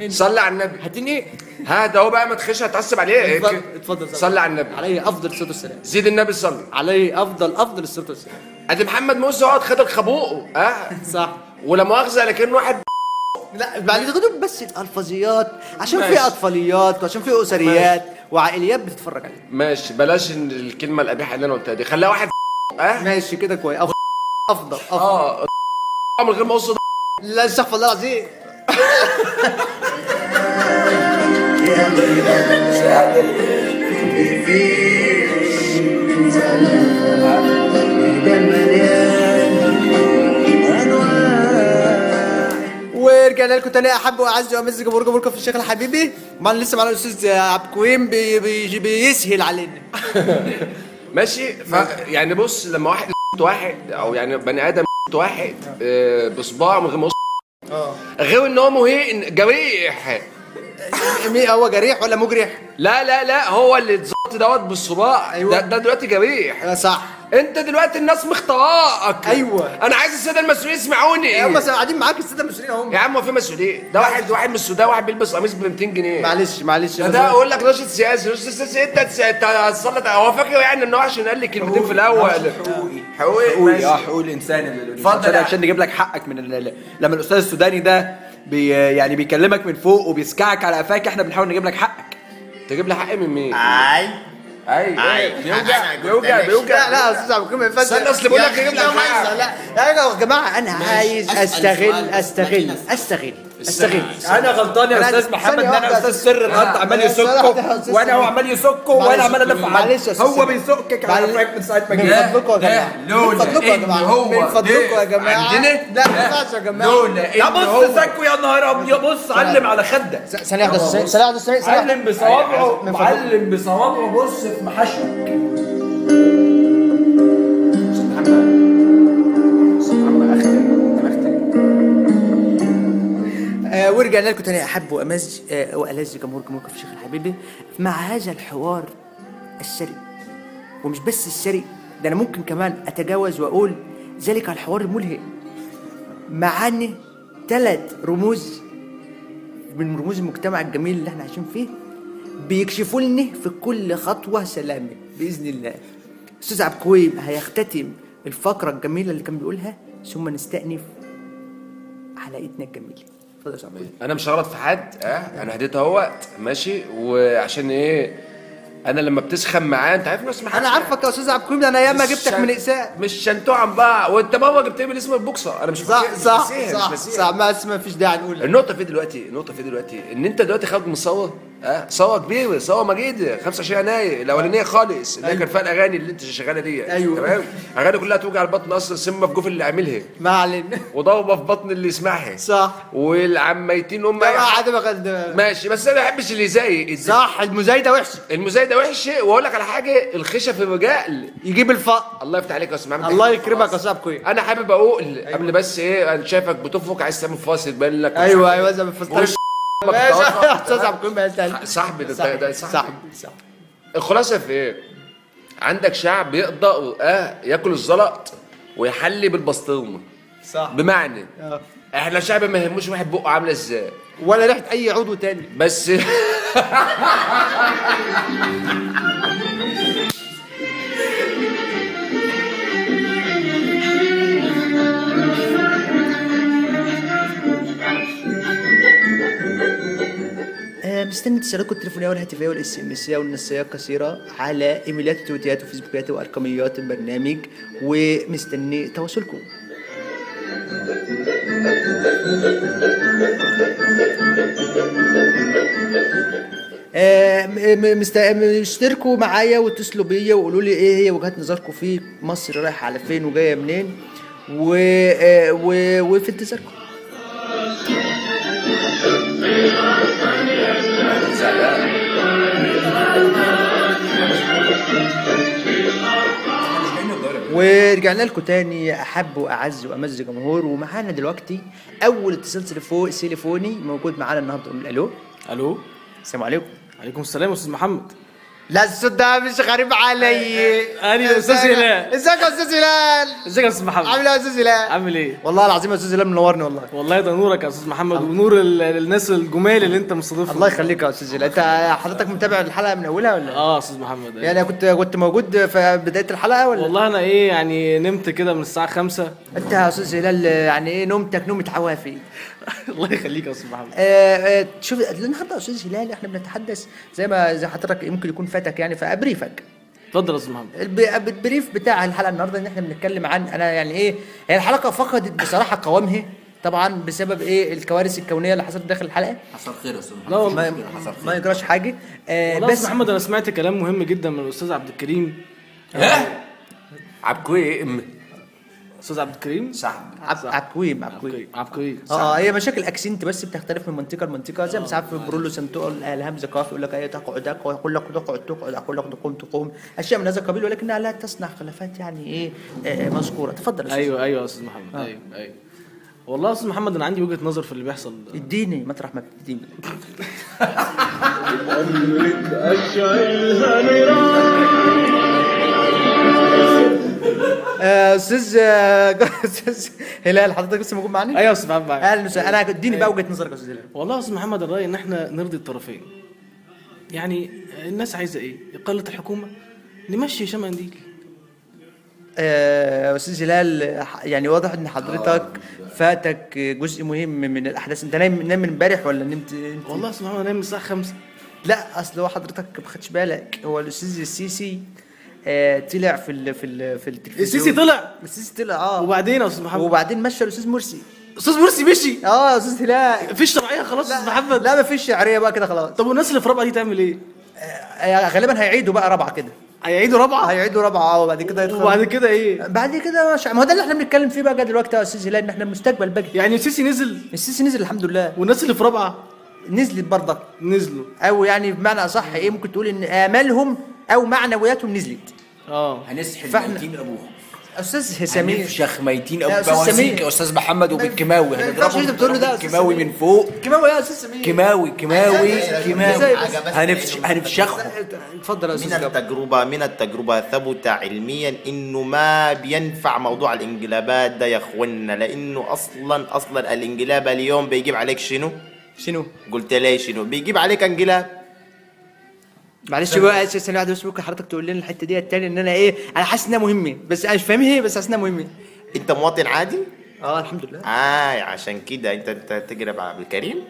S1: انقي.
S4: صلي على النبي
S1: هتنقل
S4: هذا هو بقى ما تخش هتعصب عليه
S1: اتفضل اتفضل
S4: صلي على النبي
S1: عليه افضل الصلاه والسلام
S4: زيد النبي صلي
S1: عليه افضل افضل الصلاه والسلام
S4: ادي محمد موسى اقعد خد خبوقه اه
S1: صح
S4: ولا مؤاخذه لكن واحد
S1: لا بعد كده بس الالفاظيات عشان في
S4: ماشي.
S1: اطفاليات وعشان في اسريات وعائليات بتتفرج عليه
S4: ماشي بلاش إن الكلمه القبيحه اللي انا قلتها دي خليها واحد اه
S1: ماشي كده كويس أو افضل افضل
S4: اه من غير ما اقصد
S1: لا استغفر الله العظيم ورجعنا لكم تاني يا احب واعز وامز جمهور جمهوركم في الشيخ الحبيبي معنا لسه معنا الاستاذ عبد الكويم بي بي بيسهل علينا
S4: ماشي ف... يعني بص لما واحد واحد او يعني بني ادم واحد آه، بصباعه من غير ما يقصد. غير ان هو مهين جريح
S1: مين هو جريح ولا مجرح؟
S4: لا لا لا هو اللي اتظبط دوت بالصباع
S1: أيوة.
S4: أيوة. ده, ده دلوقتي جريح
S1: آه، صح
S4: انت دلوقتي الناس مختارك
S1: أيوة.
S4: انا عايز الساده المسؤولين يسمعوني
S1: إيه، هم قاعدين معاك الساده المسؤولين هم
S4: يا عم هو في مسؤوليه ده واحد واحد من السودان واحد بيلبس قميص ب 200 جنيه
S1: معلش معلش
S4: ده, ده اقول لك راشد سياسي راشد سياسي انت تس- انت هتصلت هو فاكر يعني ان هو عشان قال لي كلمتين في الاول
S5: حقوقي
S4: حقوقي آه.
S5: حقوقي
S4: ماشي.
S5: اه حقوق الانسان اللي- اللي-
S4: اتفضل
S5: عشان-
S4: يا-
S5: عشان نجيب لك حقك من ال- لما الاستاذ السوداني ده بي يعني بيكلمك من فوق وبيسكعك على قفاك احنا بنحاول نجيب لك حقك
S4: تجيب لي حقي من مين؟
S3: اي
S4: ايوه
S3: أيوة.
S4: بيوجع
S3: أنا قلت
S4: بيوجع
S3: لك.
S4: بيوجع
S1: لا لا يا استاذ عبد الكريم ما ينفعش
S4: استنى اصل بقول لك اجيب لك
S3: يا أخي،
S4: حاجة.
S3: لا، لا.
S1: لا يا جماعه انا عايز
S6: أسأل
S1: استغل
S6: سؤال.
S1: استغل
S6: لكن
S1: استغل استغل
S6: انا غلطان يا استاذ محمد ان انا استاذ سر الخط عمال يسكه وانا هو عمال يسكه وانا عمال الف عليه
S1: معلش يا أستاذ
S6: هو
S1: سامي.
S6: بيسكك على
S1: معلش.
S6: فراك من ساعه ما
S1: من
S6: جه
S1: فضلكم يا جماعه
S6: ده
S1: من
S6: لولا
S1: فضلكم يا جماعه
S6: إن هو
S1: من فضلكم يا
S6: ضيف
S1: جماعه
S6: عندنا،
S1: لا ما ينفعش يا جماعه
S6: لولا
S1: لا
S6: إن هو-
S1: بص
S6: سكه يا نهار ابيض بص علم على خدك
S1: س- ثانيه واحده ثانيه واحده ثانيه واحدة.
S6: علم بصوابعه
S1: من فضلكم.
S6: علم بصوابعه بص في محشك
S1: آه، ورجعنا لكم تاني احب وامز آه، والذ جمهور جمهور كفر الشيخ الحبيبي مع هذا الحوار السري ومش بس السري ده انا ممكن كمان اتجاوز واقول ذلك الحوار الملهي معاني ثلاث رموز من رموز المجتمع الجميل اللي احنا عايشين فيه بيكشفوا لنا في كل خطوه سلامه باذن الله استاذ عبد الكويب هيختتم الفقره الجميله اللي كان بيقولها ثم نستأنف حلقتنا الجميله اتفضل يا أستاذ عبد الكويب
S4: انا مش هغلط في حد اه انا هديت اهوت ماشي وعشان ايه انا لما بتسخن معاه انت عارف ناس ما
S1: انا
S4: حدش-
S1: عارفك يا استاذ عبد الكريم ده انا ياما
S4: مش
S1: جبتك
S4: شن-
S1: من اقساء
S4: مش شنتوعا بقى وانت بابا جبت لي من اسم البوكسر انا مش
S1: صح
S4: مش
S1: صح
S4: نسيها، مش
S1: صح
S4: نسيها.
S1: صح ما اسمع فيش داعي نقول
S4: النقطة في دلوقتي النقطة في دلوقتي ان انت دلوقتي خارج من صوا اه صوا كبيرة صوا مجيدة 25 يناير الاولانية خالص اللي هي
S1: أيوه.
S4: كان فيها الاغاني اللي انت شغالة دي
S1: أيوة.
S4: تمام اغاني كلها توجع البطن اصلا سمة في جوف اللي عاملها
S1: ما علينا
S4: وضوبة في بطن اللي يسمعها
S1: صح
S4: والعميتين هم
S1: ما عاد بقى-
S4: ماشي بس انا ما بحبش اللي زي
S1: صح المزايده وحشه
S4: المزايده وحشه واقول لك على حاجه الخشب في بجال
S1: يجيب الفقر
S4: الله يفتح عليك يا استاذ محمد
S1: الله يكرمك يا أيوه. صاحب كويس
S4: انا حابب اقول قبل بس ايه انا شايفك بتفك عايز تعمل فاصل بين لك
S1: ايوه ايوه زي ما فستان
S4: وش-
S1: ماشي يا استاذ عبد الكريم بقى سهل.
S4: صاحبي ده- ده- ده صاحبي
S1: صاحبي صاحبي
S4: الخلاصه في ايه؟ عندك شعب يقدر اه ياكل الزلط ويحلي بالبسطرمه
S1: صح
S4: بمعنى
S1: آه.
S4: احنا شعب ما يهموش واحد بقه عامله ازاي
S1: ولا ريحه اي عضو تاني
S4: بس
S1: آه، مستني اتصالاتكم التليفونيه والهاتفيه والاس ام اس والنصيه القصيره على ايميلات وتويتات وفيسبوكات وارقاميات البرنامج ومستني تواصلكم آه، م- م- مست- م- اشتركوا معايا واتصلوا بيا وقولوا لي ايه هي وجهات نظركم في مصر رايحه على فين وجايه منين و... آه، و... وفي انتظاركم ورجعنا لكم تاني احب واعز وامز جمهور ومعانا دلوقتي اول اتصال تليفو- تليفوني موجود معانا النهارده قول الو
S6: الو
S1: السلام عليكم
S6: عليكم السلام يا استاذ محمد
S1: لا الصوت ده مش غريب عليا
S6: أنا الأستاذ
S1: إزيك-
S6: هلال.
S1: ازيك يا استاذ هلال
S6: ازيك يا استاذ محمد
S1: عامل ايه يا استاذ هلال
S6: عامل ايه
S1: والله العظيم يا استاذ هلال منورني والله
S6: والله ده نورك يا استاذ محمد ونور ال- الناس الجمال اللي انت مستضيفهم
S1: الله يخليك يا استاذ هلال انت حضرتك متابع الحلقه من اولها ولا
S6: اه يا استاذ محمد
S1: يعني كنت كنت موجود في بدايه الحلقه ولا
S6: والله انا ايه يعني نمت كده من الساعه 5
S1: انت يا استاذ هلال يعني ايه نومتك نومه عوافي
S6: الله يخليك يا استاذ محمد
S1: آه، آه، شوف النهارده يا استاذ هلال احنا بنتحدث زي ما زي حضرتك يمكن يكون فاتك يعني فابريفك
S6: اتفضل يا استاذ محمد
S1: الب- البريف بتاع الحلقه النهارده ان احنا بنتكلم عن انا يعني ايه هي الحلقه فقدت بصراحه قوامها طبعا بسبب ايه الكوارث الكونيه اللي حصلت داخل الحلقه
S5: حصل خير يا استاذ محمد
S6: لا والله
S1: ما ما يجراش حاجه آه
S6: والله يا
S1: بس
S6: استاذ محمد انا سمعت كلام مهم جدا من الاستاذ عبد الكريم آه.
S1: إيه؟
S4: عبكوي ام
S6: استاذ عبد الكريم
S4: صاحبي
S1: عب- عبكويم عبكويم
S6: عبد الكريم
S1: اه آه، هي مشاكل اكسنت بس بتختلف من منطقه لمنطقه زي ما ساعات في برولو سنتو الهمزه كاف يقول لك ايه تقعد اقوى يقول لك تقعد تقعد اقول لك تقوم تقوم اشياء من هذا القبيل ولكنها لا تصنع خلافات يعني ايه آه، مذكوره تفضل يا أستاذ.
S6: ايوه ايوه يا استاذ محمد
S1: آه.
S6: ايوه ايوه والله يا استاذ محمد انا عندي وجهه نظر في اللي بيحصل ده.
S1: اديني مطرح ما بتديني آه، استاذ آه، استاذ هلال حضرتك لسه موجود معانا؟
S6: ايوه يا استاذ محمد معاك.
S1: اهلا وسهلا انا اديني بقى وجهه نظرك يا استاذ هلال
S6: والله يا استاذ محمد الراي ان احنا نرضي الطرفين يعني الناس عايزه ايه قالت الحكومه نمشي هشام قنديل
S1: آه، استاذ هلال ح- يعني واضح ان
S6: آه،
S1: حضرتك فاتك جزء مهم من الاحداث انت نايم نايم من امبارح ولا نمت
S6: والله يا استاذ محمد أنا نايم من الساعه 5
S1: لا اصل هو حضرتك ما خدتش بالك هو الاستاذ السيسي آه طلع في ال في ال في التلفزيون
S6: السيسي طلع
S1: السيسي طلع اه
S6: وبعدين يا استاذ محمد
S1: وبعدين مشى الاستاذ مرسي
S6: استاذ مرسي مشي
S1: اه يا استاذ هلال
S6: مفيش شرعيه خلاص يا استاذ محمد
S1: لا مفيش شعريه بقى كده خلاص
S6: طب والناس اللي في رابعه دي تعمل ايه؟
S1: آه غالبا هيعيدوا بقى رابعه كده
S6: هيعيدوا رابعه
S1: هيعيدوا رابعه وبعد كده يدخلوا
S6: وبعد كده ايه؟
S1: بعد كده مش ما هو ده اللي احنا بنتكلم فيه بقى دلوقتي يا استاذ هلال ان احنا المستقبل بقى
S6: يعني السيسي نزل
S1: السيسي نزل الحمد لله
S6: والناس اللي في رابعه
S1: نزلت برضك
S6: نزلوا
S1: او يعني بمعنى اصح ايه ممكن تقول ان امالهم او معنوياتهم نزلت آه.
S6: اه
S5: هنسحل
S1: فإحنا-
S5: ميتين ابوه
S1: استاذ سمير
S5: هنفشخ ميتين
S1: يا
S5: ابوه
S1: أستاذ سمير.
S5: بوازيك يا استاذ محمد وبالكيماوي
S1: ما ينفعش اللي أنت بتقوله ده يا أستاذ
S5: كيماوي
S1: سمير.
S5: من فوق
S1: كيماوي يا استاذ سمير
S5: كيماوي كيماوي
S3: لا، لا، لا،
S5: كيماوي
S1: لا، لا، لا،
S5: هنفش- هنفشخه
S1: اتفضل يا
S3: من
S1: استاذ جابر
S3: التجربة من التجربة ثبت علميا انه ما بينفع موضوع الانقلابات ده يا اخوانا لانه اصلا اصلا الانقلاب اليوم بيجيب عليك شنو؟
S1: شنو
S3: قلت لي شنو؟ بيجيب عليك انقلاب
S1: معلش بقى استاذ ثانيه واحده بس ممكن حضرتك تقول لنا الحته دي التانية ان انا ايه انا حاسس انها مهمه بس انا مش فاهمها ايه بس حاسس انها مهمه
S3: انت مواطن عادي؟
S1: اه الحمد لله
S3: اه عشان كده انت انت تقرب على عبد الكريم؟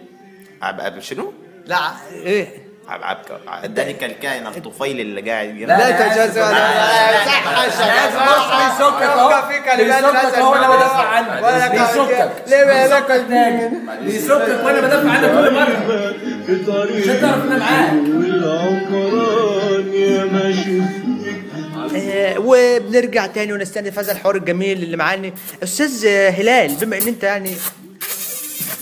S3: عب عب شنو؟
S1: لا ايه
S3: عب عب ذلك الكائن الطفيلي اللي قاعد
S5: لا،
S1: لا
S5: أنا
S1: تجاوز
S5: آسف، أنا آسف. بيسكك اهو بيسكك اهو وانا بدافع عنك بيسكك
S1: ليه بقى
S5: بيسكك وانا بدافع عنك كل مره مش هتعرف ان انا معاك
S1: آه، وبنرجع تاني ونستأنف هذا الحوار الجميل اللي معانا استاذ آه، هلال بما ان انت يعني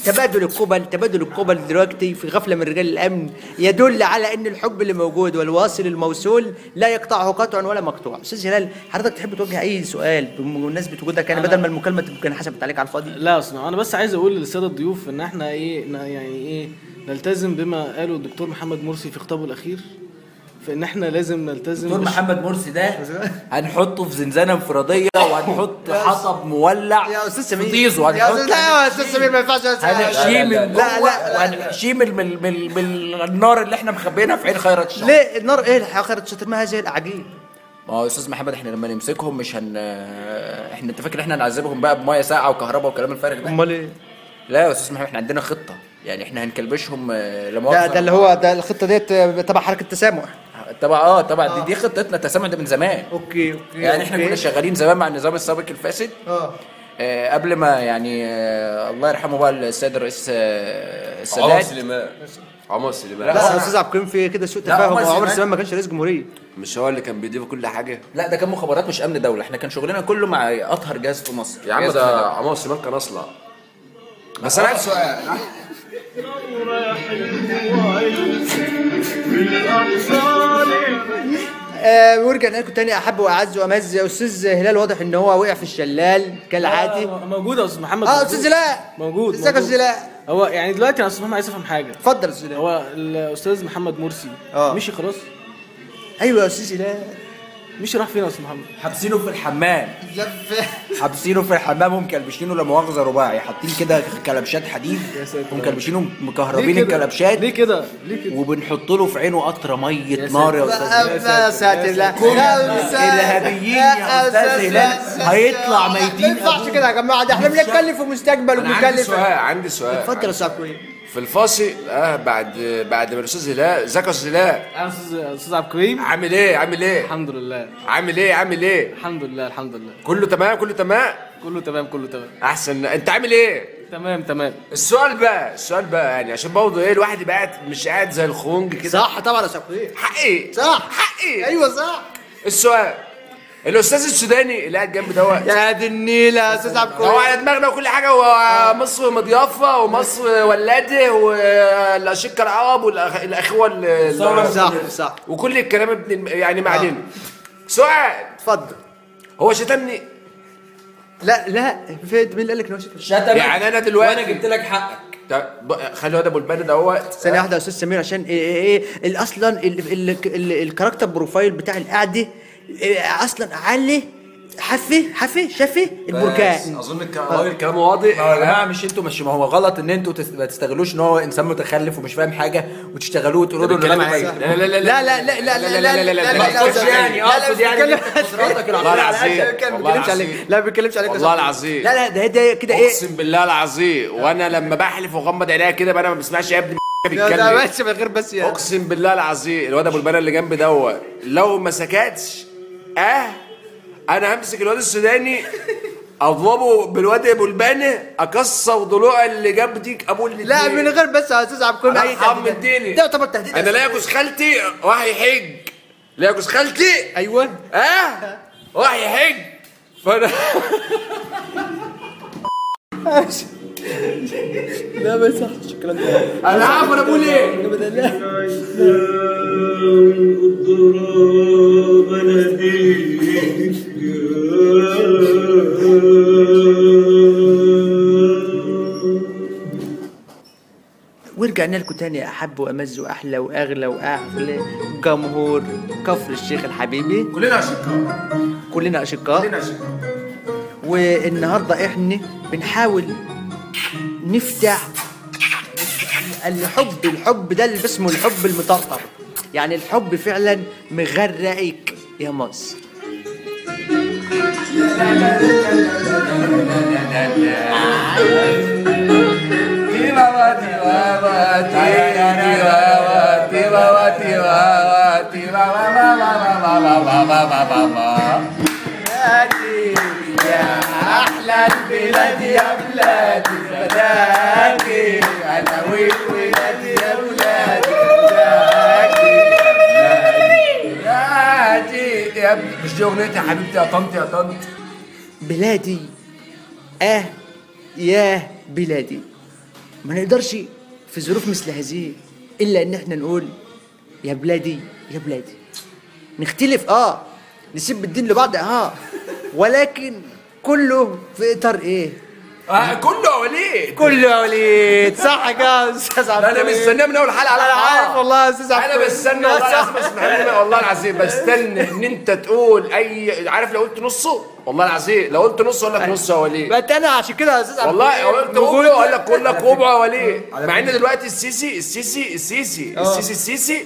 S1: تبادل القبل تبادل القبل دلوقتي في غفله من رجال الامن يدل على ان الحب اللي موجود والواصل الموصول لا يقطعه قطع ولا مقطوع استاذ هلال حضرتك تحب توجه اي سؤال بمناسبه وجودك يعني بدل ما المكالمه تبقى حسبت عليك على الفاضي
S6: لا اسمع انا بس عايز اقول للساده الضيوف ان احنا ايه إن يعني ايه نلتزم بما قاله الدكتور محمد مرسي في خطابه الاخير فان احنا لازم نلتزم
S5: دكتور
S6: بش-
S5: محمد مرسي ده هنحطه في زنزانه انفراديه وهنحط حطب مولع
S1: يا استاذ
S5: في
S1: سمير
S5: طيزه
S1: يا أستاذ- لا
S5: وهنحط
S1: يا استاذ سمير ما ينفعش يا أستاذ هلال.
S5: هنحشيه من
S1: لا، لا،
S5: جوه وهنحشيه من من من من النار اللي احنا مخبيينها في عين خيرت الشر
S1: ليه النار ايه الحقيقه شتر ما هذه العجيب
S5: ما هو يا استاذ محمد احنا لما نمسكهم مش هن احنا انت فاكر احنا هنعذبهم بقى بميه ساقعه وكهرباء والكلام الفارغ ده
S1: امال ايه
S5: لا يا استاذ محمد احنا عندنا خطه يعني احنا هنكلبشهم آه، لا
S1: ده
S5: مؤاخذة.
S1: ده اللي هو ده الخطه ديت آه، تبع حركه التسامح
S5: طبعا اه طبعا دي, دي خطتنا التسامح ده من زمان
S1: اوكي اوكي
S5: يعني احنا
S1: آه. أوكي.
S5: كنا شغالين زمان مع النظام السابق الفاسد
S1: اه
S5: آه قبل ما يعني آه الله يرحمه بقى السيد الرئيس آه
S4: عمر
S5: السادات
S4: سليمان عمر سليمان
S1: لا يا استاذ عبد الكريم في كده سوء
S5: لا،
S1: تفاهم
S5: عمر
S1: هو عمر
S5: سليمان-
S1: سليمان ما كانش رئيس جمهوريه
S4: مش هو اللي كان بيضيف كل حاجه
S5: لا ده كان مخابرات مش امن دوله احنا كان شغلنا كله مع اطهر جهاز في مصر
S4: يا عم
S5: جهاز
S4: إيه ده
S5: أمن دولة.
S4: عمر سليمان كان اصلع بس انا عندي سؤال
S1: آه ورجع لكم تاني احب واعز وامز استاذ هلال واضح ان هو وقع في الشلال كالعادي
S6: آه، موجود يا استاذ محمد
S1: اه
S6: موجود.
S1: استاذ هلال
S6: موجود
S1: ازيك يا
S6: موجود.
S1: استاذ هلال
S6: هو يعني دلوقتي انا يا استاذ محمد عايز افهم حاجه
S1: اتفضل يا استاذ هلال
S6: هو الاستاذ محمد مرسي
S1: آه.
S6: مشي خلاص
S1: ايوه
S5: أيوة
S1: يا استاذ هلال
S6: مشي راح فين يا استاذ محمد
S5: حابسينه في الحمام
S1: لف
S5: حابسينه في الحمام ومكلبشينه لا مؤاخذه رباعي حاطين كده كلبشات حديد
S6: يا ساتر.
S5: ومكلبشينه
S6: ليه
S5: مكهربين
S6: كده؟
S5: الكلبشات
S6: ليه كده ليه كده
S5: وبنحط له في عينه قطره ميه نار يا استاذ هلال.
S1: يا ساتر لا يا أستاذ-
S5: إرهابيين يا أستاذ
S1: أستاذ
S5: هلال.
S1: لا.
S5: هيطلع
S1: لا،
S5: ميتين
S1: ما ينفعش
S5: أبوه.
S1: كده يا جماعه ده احنا بنتكلم في مستقبل
S4: انا عندي
S1: وبنتكلم
S4: سؤال
S1: في-
S4: عندي سؤال
S1: اتفضل يا استاذ عبد الكريم
S4: في الفاصل اه بعد بعد ما الاستاذ هلال ازيك يا استاذ هلال
S6: يا استاذ استاذ عبد الكريم
S4: عامل ايه عامل ايه
S6: الحمد لله
S4: عامل ايه عامل ايه
S6: الحمد لله الحمد لله
S4: كله تمام كله تمام
S6: كله تمام كله تمام
S4: احسن انت عامل ايه
S6: تمام تمام
S4: السؤال بقى السؤال بقى يعني عشان برضه ايه الواحد يبقى قاعد مش قاعد زي الخونج كده
S1: صح طبعا يا استاذ عبد الكريم
S4: حقي
S1: صح.
S4: حقي
S1: ايوه صح
S4: السؤال الاستاذ السوداني اللي قاعد جنب دوت
S1: يا دي النيله يا استاذ عبد
S4: هو
S1: الكريم
S4: على دماغنا وكل حاجه ومصر مضيافه ومصر ولاده والاشقة العرب والاخوه ال-
S1: صح صح
S4: وكل الكلام ابن يعني ما علينا سؤال
S1: اتفضل
S4: هو شتمني
S1: لا لا فهد مين اللي قال لك ان هو شتم؟
S5: شتمك
S4: يعني أنا دلوقتي-
S5: وانا جبت لك حقك
S4: طب بقى خلي واد ابو البنا دوت
S1: ثانية واحدة يا أستاذ سمير عشان إيه إيه إيه ال- أصلا ال- ال- ال- الكاركتر بروفايل بتاع القعدة إيه أصلا علي حفي حفي شفي البركان
S4: اظن الكلام واضح
S5: ما هو آه، يا جماعه مش انتوا مش ما هو غلط ان انتوا تس- ما تستغلوش ان هو انسان متخلف ومش فاهم حاجه وتشتغلوه وتقولوا له إن
S4: الكلام
S5: أنا
S4: عيب.
S5: مش-
S4: لا لا لا
S1: لا لا لا لا لا لا لا لا لا
S5: ما
S1: لا
S5: اقصدش
S1: لا لا
S5: يعني
S1: لا لا
S5: اقصد يعني إن
S1: بتكلم-
S5: أنت قدراتك
S4: والله
S5: العقلية.
S4: العظيم
S1: لا ما
S4: والله
S1: بيتكلمش
S4: العظيم.
S1: عليك لا ما بيتكلمش عليك يا
S4: والله
S1: أستاذ.
S4: العظيم.
S1: يعني. لا لا ده ده كده إيه
S4: اقسم بالله العظيم وانا لما بحلف واغمض عينيا كده بقى انا ما بسمعش يا ابني بيتكلم
S1: من غير بس يعني
S4: اقسم بالله العظيم الواد ابو البنا اللي جنبي دوت لو ما سكتش اه انا همسك الواد السوداني اضربه بالواد ابو البنا اكسر ضلوع اللي جنبك ابو اللي
S1: لا من غير بس يا استاذ عبد الكريم
S4: أنا
S1: اي
S4: حرام
S1: تهديد.
S4: الدنيا.
S1: ده يعتبر تهديد
S4: انا لا جوز خالتي راح يحج لا جوز خالتي
S1: ايوه
S4: اه راح يحج فانا
S1: لا ما يصحش الكلام ده
S4: انا عارف انا بقول ايه
S1: ورجعنا لكم تاني احب وامز واحلى واغلى واعلى جمهور كفر الشيخ الحبيبي
S4: كلنا اشقاء
S1: كلنا اشقاء
S4: كلنا اشقاء
S1: والنهارده احنا بنحاول نفتح الحب الحب ده اللي اسمه الحب المطرطر يعني الحب فعلا مغرقك يا مصر
S4: مش دي اغنيتي آه، يا حبيبتي يا طنط يا طنط
S1: بلادي اه ياه بلادي ما نقدرش في ظروف مثل هذه الا ان احنا نقول يا بلادي يا بلادي نختلف اه نسيب الدين لبعض اه ولكن كله في اطار ايه
S4: آه، كله وليد
S1: كله يا وليد صح يا استاذ عبد
S4: انا مستناه من اول حلقه على
S1: آه. أنا عارف والله يا أستاذ عبد
S4: انا
S1: الكريم.
S4: بستنى والله العظيم بستنى والله العظيم بستنى ان انت تقول اي عارف لو قلت نصه والله العظيم لو قلت نصه اقول
S1: أيوه.
S4: لك نصه يا وليد
S1: بقت انا عشان كده يا استاذ عبد
S4: والله
S1: الكريم
S4: قلت
S1: موجود.
S4: ربعه اقول لك اقول لك ربعه يا وليد
S1: أيوه.
S4: مع ان دلوقتي السيسي السيسي السيسي
S1: آه.
S4: السيسي السيسي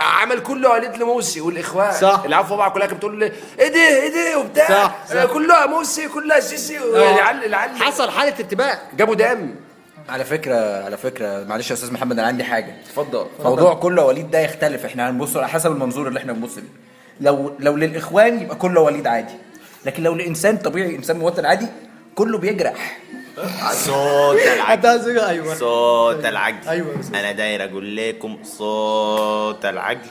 S4: عمل كله وليد لموسي والاخوان
S1: صح.
S4: اللي عارفه بقى كلها كانت بتقول لي، ايه ده ايه ده وبتاع آه،
S1: صح، صح.
S4: كلها موسي كلها سيسي العل العل
S1: حصل حاله ارتباك
S4: جابوا دم
S5: على فكره على فكره معلش يا استاذ محمد انا عندي حاجه
S4: اتفضل
S5: موضوع كله وليد ده يختلف احنا هنبص على حسب المنظور اللي احنا بنبص ليه لو لو للاخوان يبقى كله وليد عادي لكن لو لانسان طبيعي انسان مواطن عادي كله بيجرح
S3: صوت العجل
S1: ايوه
S3: صوت العجل
S1: أيوة يا أستاذ.
S3: انا داير اقول لكم صوت العجل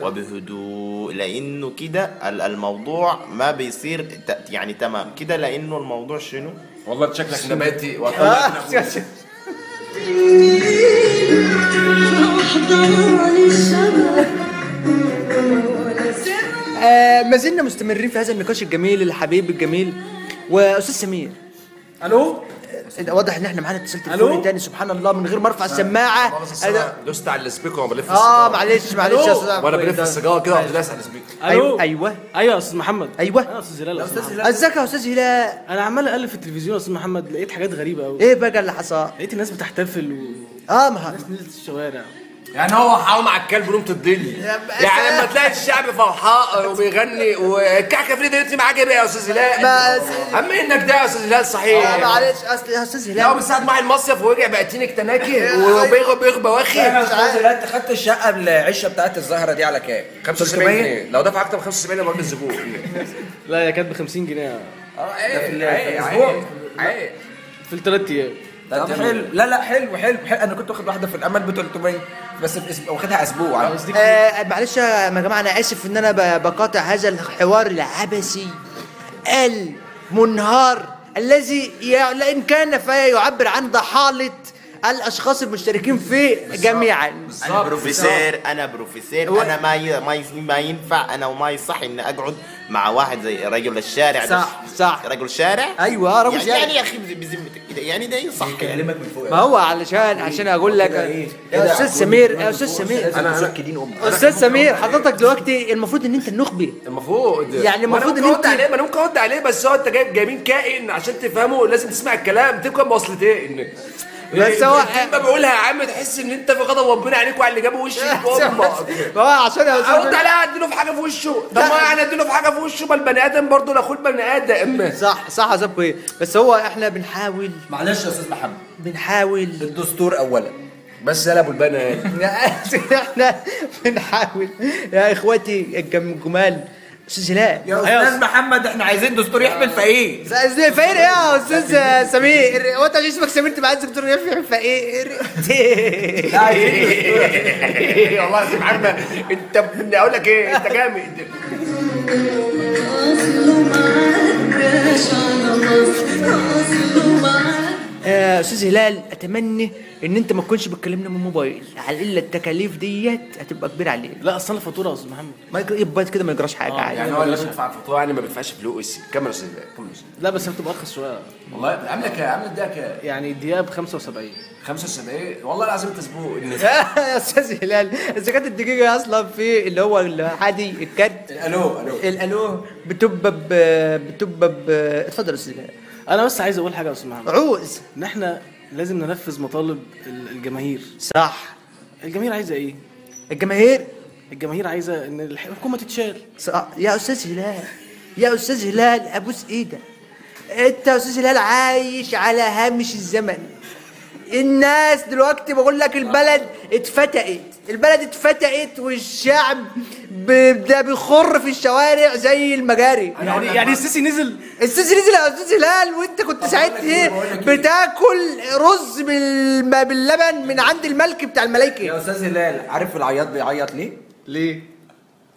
S3: وبهدوء لانه كده ال- الموضوع ما بيصير ت- يعني تمام كده لانه الموضوع شنو
S4: والله انت شكلك نباتي
S1: آه. آه، ما زلنا مستمرين في هذا النقاش الجميل الحبيب الجميل واستاذ سمير
S5: الو
S1: آه، واضح ان احنا معانا اتصال تليفوني تاني سبحان الله من غير ما ارفع السماعه أنا-
S4: دوست على السبيكر وانا بلف
S1: اه
S4: السيجارة.
S1: معلش معلش يا استاذ عبد
S4: وانا
S1: الكريم
S4: بلف
S1: ده.
S4: السيجاره كده وقمت داس على السبيكر
S1: أيوة، أيوة.
S6: ايوه يا استاذ محمد
S1: أيوة.
S6: يا استاذ هلال يا استاذ محمد.
S1: ازيك يا استاذ هلال
S6: انا عمال اقلب في التلفزيون يا استاذ محمد لقيت حاجات غريبه قوي
S1: ايه بقى اللي حصل
S6: لقيت الناس بتحتفل وناس
S1: اه ما
S6: نزلت الشوارع
S4: يعني هو حاوم على الكلب ونمت الدنيا
S1: بس-
S4: يعني لما تلاقي الشعب فرحان وبيغني والكعكه فريد انت معاك ايه بقى يا استاذ هلال؟
S1: بس-
S4: اما انك ده يا استاذ هلال
S1: آه،
S4: صحيح
S1: معلش اصل يا استاذ
S4: لا هو
S1: هلال
S4: من ساعه ما راح المصيف ورجع بقتينك تناكي وبيغب بيغب
S5: يا
S4: واخي
S5: استاذ لا انت خدت الشقه بالعشه بتاعت الزهره دي على كام
S4: 75 جنيه لو دفع اكتر من 75 انا بقول الزبون
S6: لا هي كانت ب 50 جنيه
S4: اه
S5: ده في ال-
S4: عيب
S5: في
S4: عيب
S5: الأسبوع.
S4: عيب عيب
S6: في الثلاث ايام
S5: آه، طب حلو لا لا حلو حلو حلو انا كنت واخد واحده في الامل ب 300 بس في أسبوع- واخدها اسبوع
S6: بس دي
S1: آه، معلش يا جماعه انا اسف ان انا ب- بقاطع هذا الحوار العبثي المنهار الذي ي- لان كان فيعبر عن ضحاله الاشخاص المشتركين فيه جميعا
S3: انا بروفيسور انا بروفيسور انا ما ي... ما, ي... ما ينفع انا وما يصح ان اقعد مع واحد زي رجل الشارع ده.
S1: صح، صح.
S3: رجل شارع
S1: أيوة، رجل
S3: يعني
S1: شارع.
S3: يعني يا اخي بذمتك كده يعني ده يصح يعني
S5: اكلمك من فوق
S1: ما هو علشان عشان اقول لك يا استاذ سمير يا استاذ سمير
S5: انا مسكدين امك
S1: استاذ سمير حضرتك دلوقتي المفروض ان انت النخبه
S4: المفروض
S1: يعني المفروض
S4: ان
S1: إن
S4: انت
S1: أنت-
S4: عليه ما انا ممكن ارد عليه بس هو انت جايب جايبين كائن عشان تفهمه لازم تسمع الكلام تبقى مواصلتين
S1: بس هو-
S4: ما بقولها يا عم تحس ان انت في غضب ربنا عليك وعلى اللي جابه وشك امك
S1: ما هو عشان يا
S4: ارد
S1: استاذ
S4: عليها اديله في حاجه في وشه طب ما يعني اديله في حاجه في وشه ما البني ادم برضه لا اخوه البني ادم
S1: صح صح يا استاذ إبراهيم. بس هو احنا بنحاول
S5: معلش يا استاذ محمد
S1: بنحاول
S5: الدستور اولا
S4: بس قلبوا البنا يعني
S1: احنا بنحاول يا اخواتي الجم- الجمال استاذ هلال
S5: يا
S1: أيوة.
S5: استاذ محمد احنا عايزين دستور يحمل فقيه
S1: استاذ فقير ايه يا استاذ سمير هو انت عشان اسمك سمير تبقى عايز دكتور يحيى فقير
S5: لا عايزين
S4: والله يا سيف عمه انت ابن- اقول لك ايه انت جامد
S1: آه، استاذ هلال اتمنى ان انت ما تكونش بتكلمنا من الموبايل على الا التكاليف ديت هتبقى كبيره علينا
S6: لا اصل انا فاتوره يا استاذ محمد
S1: ما يجرى- يبقى كده ما يجراش حاجه عادي
S4: يعني هو اللي بيدفع فاتوره يعني ما بيدفعش فلوس كمل يا استاذ كمل يا أستاذ.
S6: لا بس هتبقى ارخص شويه
S4: والله عامله كام عامله ده كام
S6: يعني الدقيقه ب 75
S4: 75 والله العظيم تسبوق
S1: يا استاذ هلال اذا كانت الدقيقه اصلا في اللي هو العادي الكارت
S4: الو الو
S1: الالو بتبقى ب بتبقى ب اتفضل يا استاذ هلال
S6: انا بس عايز اقول حاجه يا استاذ محمد
S1: عوز
S6: ان احنا لازم ننفذ مطالب ال- الجماهير
S1: صح
S6: الجماهير عايزه ايه
S1: الجماهير
S6: الجماهير عايزه ان الحكومه تتشال
S1: صح. يا استاذ هلال يا استاذ هلال ابوس ايدك انت يا استاذ هلال عايش على هامش الزمن الناس دلوقتي بقول لك البلد اتفتقت البلد اتفتقت والشعب ب- ده بيخر في الشوارع زي المجاري
S6: يعني يعني السيسي نزل
S1: استاذ نزل يا استاذ هلال وانت كنت ساعتها ايه بتاكل رز بالم- باللبن من عند الملك بتاع الملايكه
S5: يا استاذ هلال عارف العياط بيعيط ليه؟
S1: ليه؟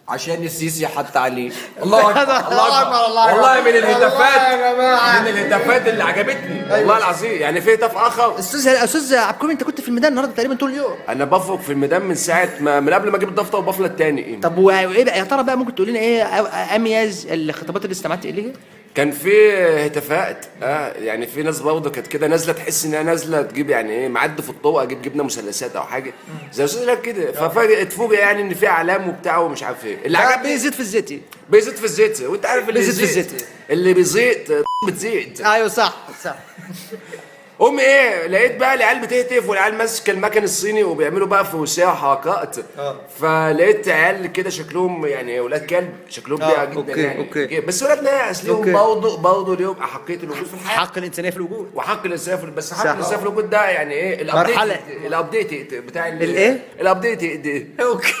S5: عشان السيسي حط عليه الله اكبر
S1: الله أكبر، الله أكبر.
S4: والله من الهتافات
S1: الله يا جماعة. أيوة.
S4: من الهتافات اللي عجبتني والله العظيم يعني في هتاف اخر
S1: استاذ هلال استاذ عبد انت كنت في الميدان النهارده تقريبا طول اليوم
S4: انا بفرق في الميدان من ساعه ما من قبل ما اجيب الضفطه وبفلة التاني
S1: طب وايه بقى يا ترى بقى ممكن تقول لنا ايه أ- اميز الخطابات اللي استمعت اليها؟
S4: كان في هتافات اه يعني في ناس برضه كانت كده نازله تحس انها نازله تجيب يعني ايه معد في الطرق اجيب جبنه مثلثات او حاجه زي استاذ لك كده ففاجئ اتفوجئ يعني ان في اعلام وبتاع ومش عارف ايه اللي
S1: لا،
S4: عجبني
S1: بيزيد في الزيتي
S4: بيزيد في الزيت وانت عارف اللي
S1: بيزيد في
S4: يزيد-
S1: الزيت.
S4: اللي بيزيد بتزيد
S1: ايوه صح صح
S4: قوم ايه لقيت بقى العيال بتهتف والعيال ماسكه المكن الصيني وبيعملوا بقى فروسيه وحركات
S1: اه.
S4: فلقيت عيال كده شكلهم يعني ولاد كلب شكلهم بيع جدا
S1: اه، أوكي،
S4: يعني
S1: أوكي.
S4: بس ولاد ناس
S1: أوكي.
S4: ليهم برضه برضه ليهم احقيه الوجود في الحياه
S1: حق الانسانيه في الوجود
S4: وحق الاسراف بس حق
S1: صح.
S4: الاسراف الوجود ده يعني ايه الابديت
S1: مرحلة.
S4: الابديت بتاع ال-
S1: الإيه؟
S4: الابديت ده.
S1: اوكي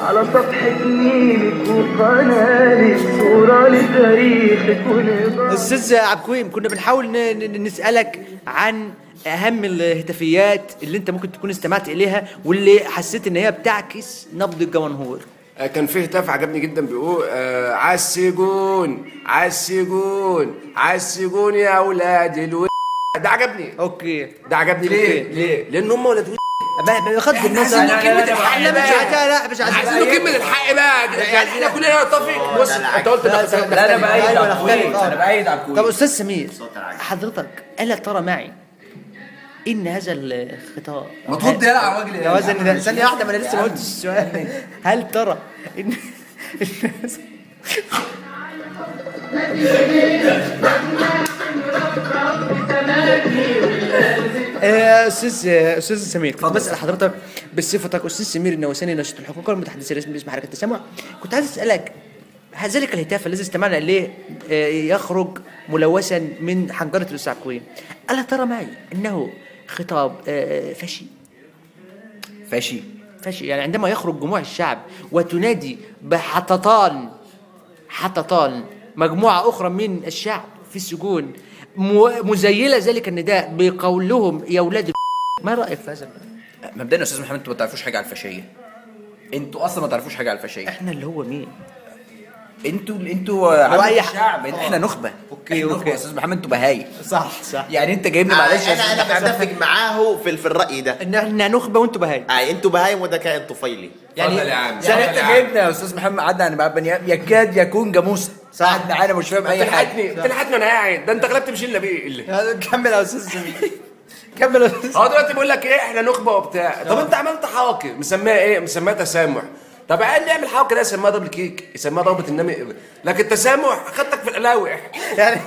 S2: على سطح النيلك وقنالك صورة لتاريخك ولبعض
S1: استاذ عبد الكويم كنا بنحاول ن- ن- نسالك عن اهم الهتافيات اللي انت ممكن تكون استمعت اليها واللي حسيت ان هي بتعكس نبض الجمهور
S4: آه، كان فيه هتاف عجبني جدا بيقول آه عايز سجون عايز سجون عايز سجون يا اولاد الو ده عجبني
S1: اوكي
S4: ده عجبني ليه؟
S1: ليه؟
S4: ليه؟ لان هم ولاد وش
S1: بغض النظر
S4: عايزين له كلمة الحق
S1: لا مش
S4: بقى.
S1: عايزين- لا مش
S4: عايزين له كلمه الحق بقى يعني احنا كلنا نتفق بص انت قلت ده ده-
S5: لا انا
S4: ده-
S5: بايد
S1: أيوة، أنا
S5: على الكويت
S1: اختلف.
S5: انا بايد على
S1: طب
S5: الكويت
S1: استاذ سمير حضرتك الا ترى معي ان هذا الخطاب
S5: ما ترد يلا على وجه
S1: يا وزن ده ثانية واحدة ما انا لسه ما قلتش السؤال هل ترى ان إن هذا- آه، استاذ آه، استاذ سمير كنت بسال حضرتك بصفتك استاذ سمير النوساني ناشط الحقوق المتحدث الرسمي باسم حركه التسامح كنت عايز اسالك ذلك الهتاف الذي استمعنا اليه آه، يخرج ملوثا من حنجره الاستاذ عبد الا ترى معي انه خطاب آه، فشي
S5: فاشي
S1: فشي يعني عندما يخرج جموع الشعب وتنادي بحططان حططان مجموعة أخرى من الشعب في السجون مو- مزيلة ذلك النداء بقولهم يا أولاد ال- ما رأيك في هذا؟
S5: مبدئيا يا استاذ محمد انتوا ما تعرفوش حاجه على الفاشيه انتوا اصلا ما تعرفوش حاجه على الفاشيه
S1: إحنا اللي هو مين؟
S5: انتوا انتوا
S1: أي
S5: عامل
S1: حد.
S5: الشعب احنا نخبه
S1: أوكي،
S5: إحنا نخبة
S1: أوكي.
S5: يا استاذ محمد انتوا بهايم
S1: صح صح
S5: يعني انت
S3: آه،
S5: جايبني معلش يا
S3: انا
S5: استاذ
S3: انا
S5: محمد.
S3: بتفق معاه في في الراي ده
S1: إن إحنا نخبة وأنتوا بهايم
S3: آه، انتوا بهايم وده كائن طفيلي
S5: يعني
S4: اتفضل يا عم.
S5: زي ما
S4: اتفضل
S5: انت
S4: يا عم.
S5: جايبنا يا استاذ محمد عدى عن بقى بني آدم يكاد يكون جاموسه
S1: صح.
S5: قعدنا انا مش فاهم اي
S4: تلحقتني
S5: حاجه
S4: تلحقتني وانا قاعد ده انت غلبت مش نبيل
S1: كمل يا أستاذ سمير كمل يا أستاذ
S4: هو دلوقتي بيقول لك ايه احنا نخبه وبتاع طب انت عملت حواكر مسميها ايه؟ مسميها تسامح طب عيال نعمل حواكر ده يسميها ضرب الكيك يسميها ضربة النمي لكن تسامح خدتك في القلاوح
S1: يعني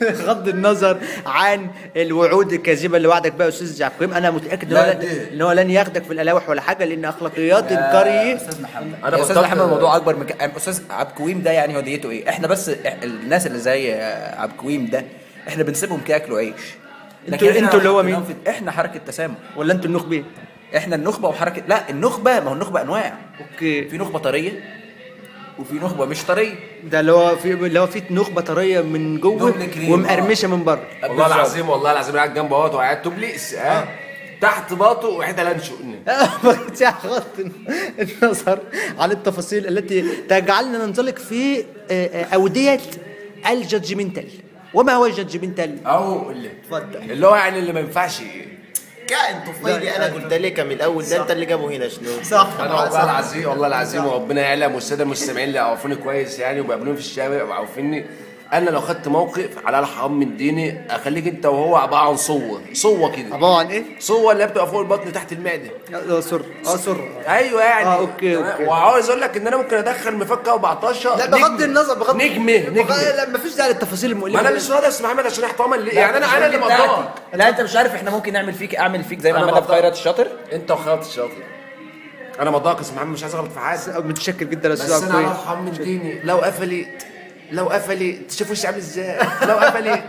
S1: بغض النظر عن الوعود الكاذبه اللي وعدك بها يا استاذ عبد انا متاكد ان هو
S5: لا،
S1: لن-
S5: ليه؟
S1: ان هو لن ياخدك في القلاوح ولا حاجه لان اخلاقيات الكري
S5: استاذ محمد
S4: أنا
S5: انا استاذ
S4: بطلت-
S5: محمد الموضوع اكبر من كده. استاذ عبكويم ده يعني هو ديته ايه احنا بس إح- الناس اللي زي عبكويم ده احنا بنسيبهم كده ياكلوا عيش
S1: انتوا-
S5: إحنا
S1: انتوا اللي هو مين؟
S5: بننفذ- احنا حركه تسامح
S1: ولا انتوا النخبه
S5: احنا النخبه وحركه لا النخبه ما هو النخبه انواع
S1: اوكي
S5: في نخبه طريه وفي نخبه مش طريه
S1: ده اللي هو في اللي هو في نخبه طريه من جوه
S5: دبل كريم،
S1: ومقرمشه من بره
S4: والله
S5: بالظبط.
S4: العظيم والله العظيم قاعد جنب اهوت وقاعد تبليس اه تحت باطه وحته لانشون
S1: ما كنتش اخذت النظر عن التفاصيل التي تجعلنا ننطلق في آه، آه، اوديه الجادجمنتال وما هو الجادجمنتال؟
S4: او اللي
S1: اتفضل
S4: اللي هو يعني اللي ما ينفعش
S3: كائن طفيلي انا قلت لك من الاول ده انت اللي جابه هنا شنو
S1: صح
S4: انا والله العظيم والله العظيم وربنا يعلم والساده المستمعين اللي عارفيني كويس يعني وبيقابلوني في الشارع وعارفيني انا لو خدت موقف على الحرام من ديني اخليك انت وهو عباره عن صوه صوه كده
S1: عباره عن ايه؟
S4: صوه اللي بتبقى فوق البطن تحت المعده
S1: اه سر اه سر
S4: ايوه يعني
S1: آه، أوكي،
S4: تمام؟
S1: أوكي.
S4: وعاوز اقول لك ان انا ممكن ادخل مفكه و14
S1: لا بغض النظر بغض
S4: نجمه نجمه
S1: لا مفيش داعي للتفاصيل
S4: ما
S1: المؤلمه
S4: انا مش راضي يا استاذ محمد عشان احتراما ليه يعني انا انا اللي مضايق
S5: لا انت مش عارف احنا ممكن نعمل فيك اعمل فيك زي ما
S4: أنا
S5: عملنا في
S4: بقدر.
S5: خيرات الشاطر
S4: انت وخيرت الشاطئ انا مضايق يا استاذ محمد مش عايز اغلط في حاجه
S1: متشكر جدا يا
S4: بس
S1: استاذ
S4: انا على
S1: عبد
S4: ارحم من ديني لو قفلت لو قفلت شوف وشي عامل ازاي لو قفلت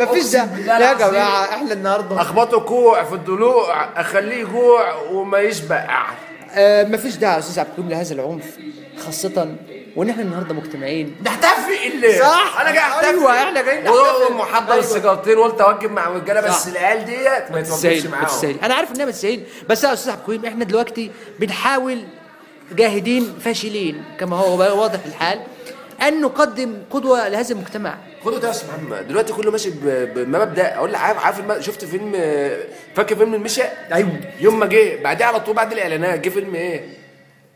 S1: مفيش
S4: أقسم
S1: داعي
S4: بالله
S1: يا
S4: العظيم.
S1: جماعه احنا النهارده
S4: اخبطه كوع في الضلوع اخليه يجوع وما يشبع
S1: آه، مفيش داعي يا استاذ عبد الكريم لهذا العنف خاصه وان احنا النهارده مجتمعين
S4: نحتفل اللي
S1: صح.
S4: انا جاي احتفل
S1: أيوة، إحنا جايين نحتفل.
S4: نحتفل محضر
S1: أيوة.
S4: السيجارتين قلت اوجب مع الرجاله بس
S1: صح.
S4: العيال ديت ما يتوجبش
S1: تسعين
S4: معاهم
S1: تسعين انا عارف انها بتسعين بس يا استاذ عبد الكريم احنا دلوقتي بنحاول جاهدين فاشلين كما هو بقى واضح الحال ان نقدم قدوه لهذا المجتمع
S4: خدوا ده يا استاذ محمد دلوقتي كله ماشي ب- بمبدا اقول لك عارف عارف الم- شفت فيلم فاكر فيلم المشا
S1: ايوه
S4: يوم ما جه بعديه على طول بعد الاعلانات جه فيلم ايه؟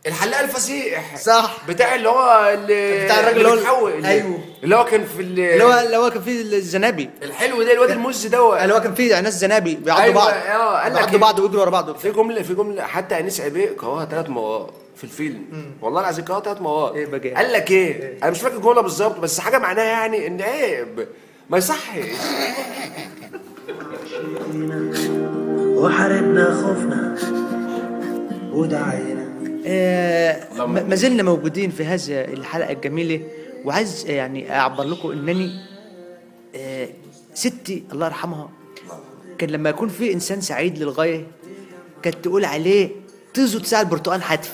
S4: الحلاق الفصيح
S1: صح.
S4: بتاع اللي هو اللي
S1: بتاع الراجل اللي هو-
S4: بيتحول اللي
S1: أيوه.
S4: اللي هو كان في ال-
S1: اللي هو اللي هو كان فيه الزنابي
S4: الحلو ده الواد المز دوت
S1: اللي هو كان فيه ناس زنابي بيعضوا
S4: أيوة،
S1: بعض
S4: آه، قال لك
S1: بيعضوا
S4: إيه؟
S1: بعض ويجروا ورا بعض
S4: في جمله في جمله حتى انيس عبيد قراها ثلاث مرات في الفيلم والله العظيم قراها ثلاث مرات
S1: إيه بقى؟
S4: قال لك ايه؟ انا مش فاكر الجمله بالظبط بس حاجه معناها يعني ان عيب ما يصحش
S2: وحاربنا خوفنا ودعينا
S1: آه، ما ما زلنا موجودين في هذا الحلقه الجميله وعايز آه، يعني اعبر لكم انني آه، ستي الله يرحمها كان لما يكون في انسان سعيد للغايه كانت تقول عليه تزود ساعة البرتقال حتف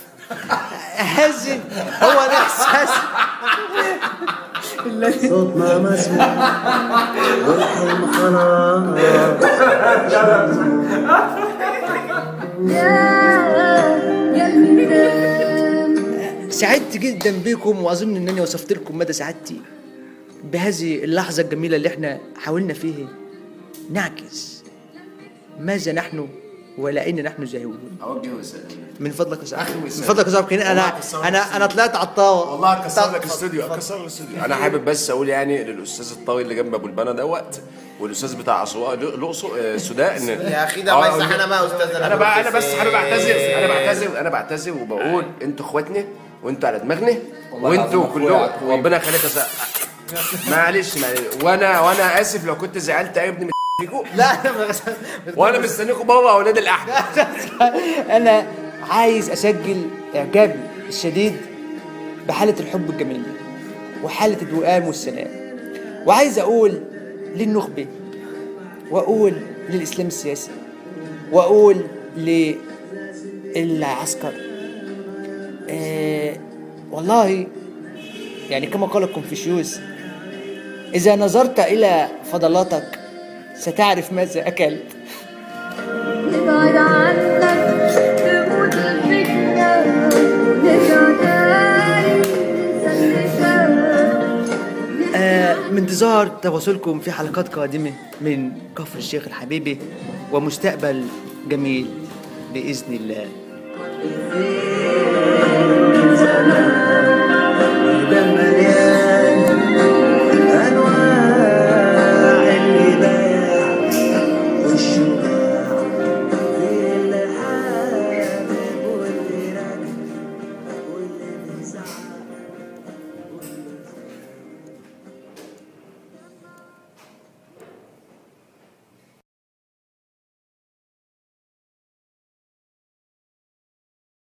S1: هذا هو الاحساس
S2: صوتنا مسموع والحلم خلاص
S1: سعدت جدا بكم واظن انني وصفت لكم مدى سعادتي بهذه اللحظه الجميله اللي احنا حاولنا فيها نعكس ماذا نحن ولا ان نحن زاهدون
S4: اوجه وسلام
S1: من فضلك يا سعد
S4: أخي
S1: من
S4: وسام.
S1: فضلك يا سعد كريم، انا انا انا طلعت على الطاوله
S4: والله كسر
S1: طب-
S4: لك الاستوديو كسر لك الاستوديو انا حابب بس اقول يعني للاستاذ الطاوي اللي جنب ابو البنا دوت والاستاذ بتاع اسوان الاقصر آه، السودان
S3: يا اخي ده ما يصح انا ما استاذ
S4: انا بقى انا بس حابب اعتذر انا
S3: بعتذر
S4: بعتذر انا بعتذر وبقول انتوا اخواتنا وانتوا على دماغنا
S5: والله
S4: وانتوا
S5: العظيم أخويا
S4: كلهم
S5: عكوية.
S4: ربنا يخليك يا سعد. معلش معلش وانا وانا اسف لو كنت زعلت أيوة اي ابن فيكم
S1: لا انا ما-
S4: وانا مستنيكم بابا اولاد الاحمر
S1: انا عايز اسجل اعجابي الشديد بحاله الحب الجميله وحاله الوئام والسلام وعايز اقول للنخبه واقول للاسلام السياسي واقول للعسكر آه والله يعني كما قال كونفوشيوس اذا نظرت الى فضلاتك ستعرف ماذا اكلت
S7: نبعد عنك تموت الفتنة نرجع تاني نسلكك
S1: آه، من انتظار تواصلكم في حلقات قادمة من كفر الشيخ الحبيبي ومستقبل جميل بإذن الله
S7: نسير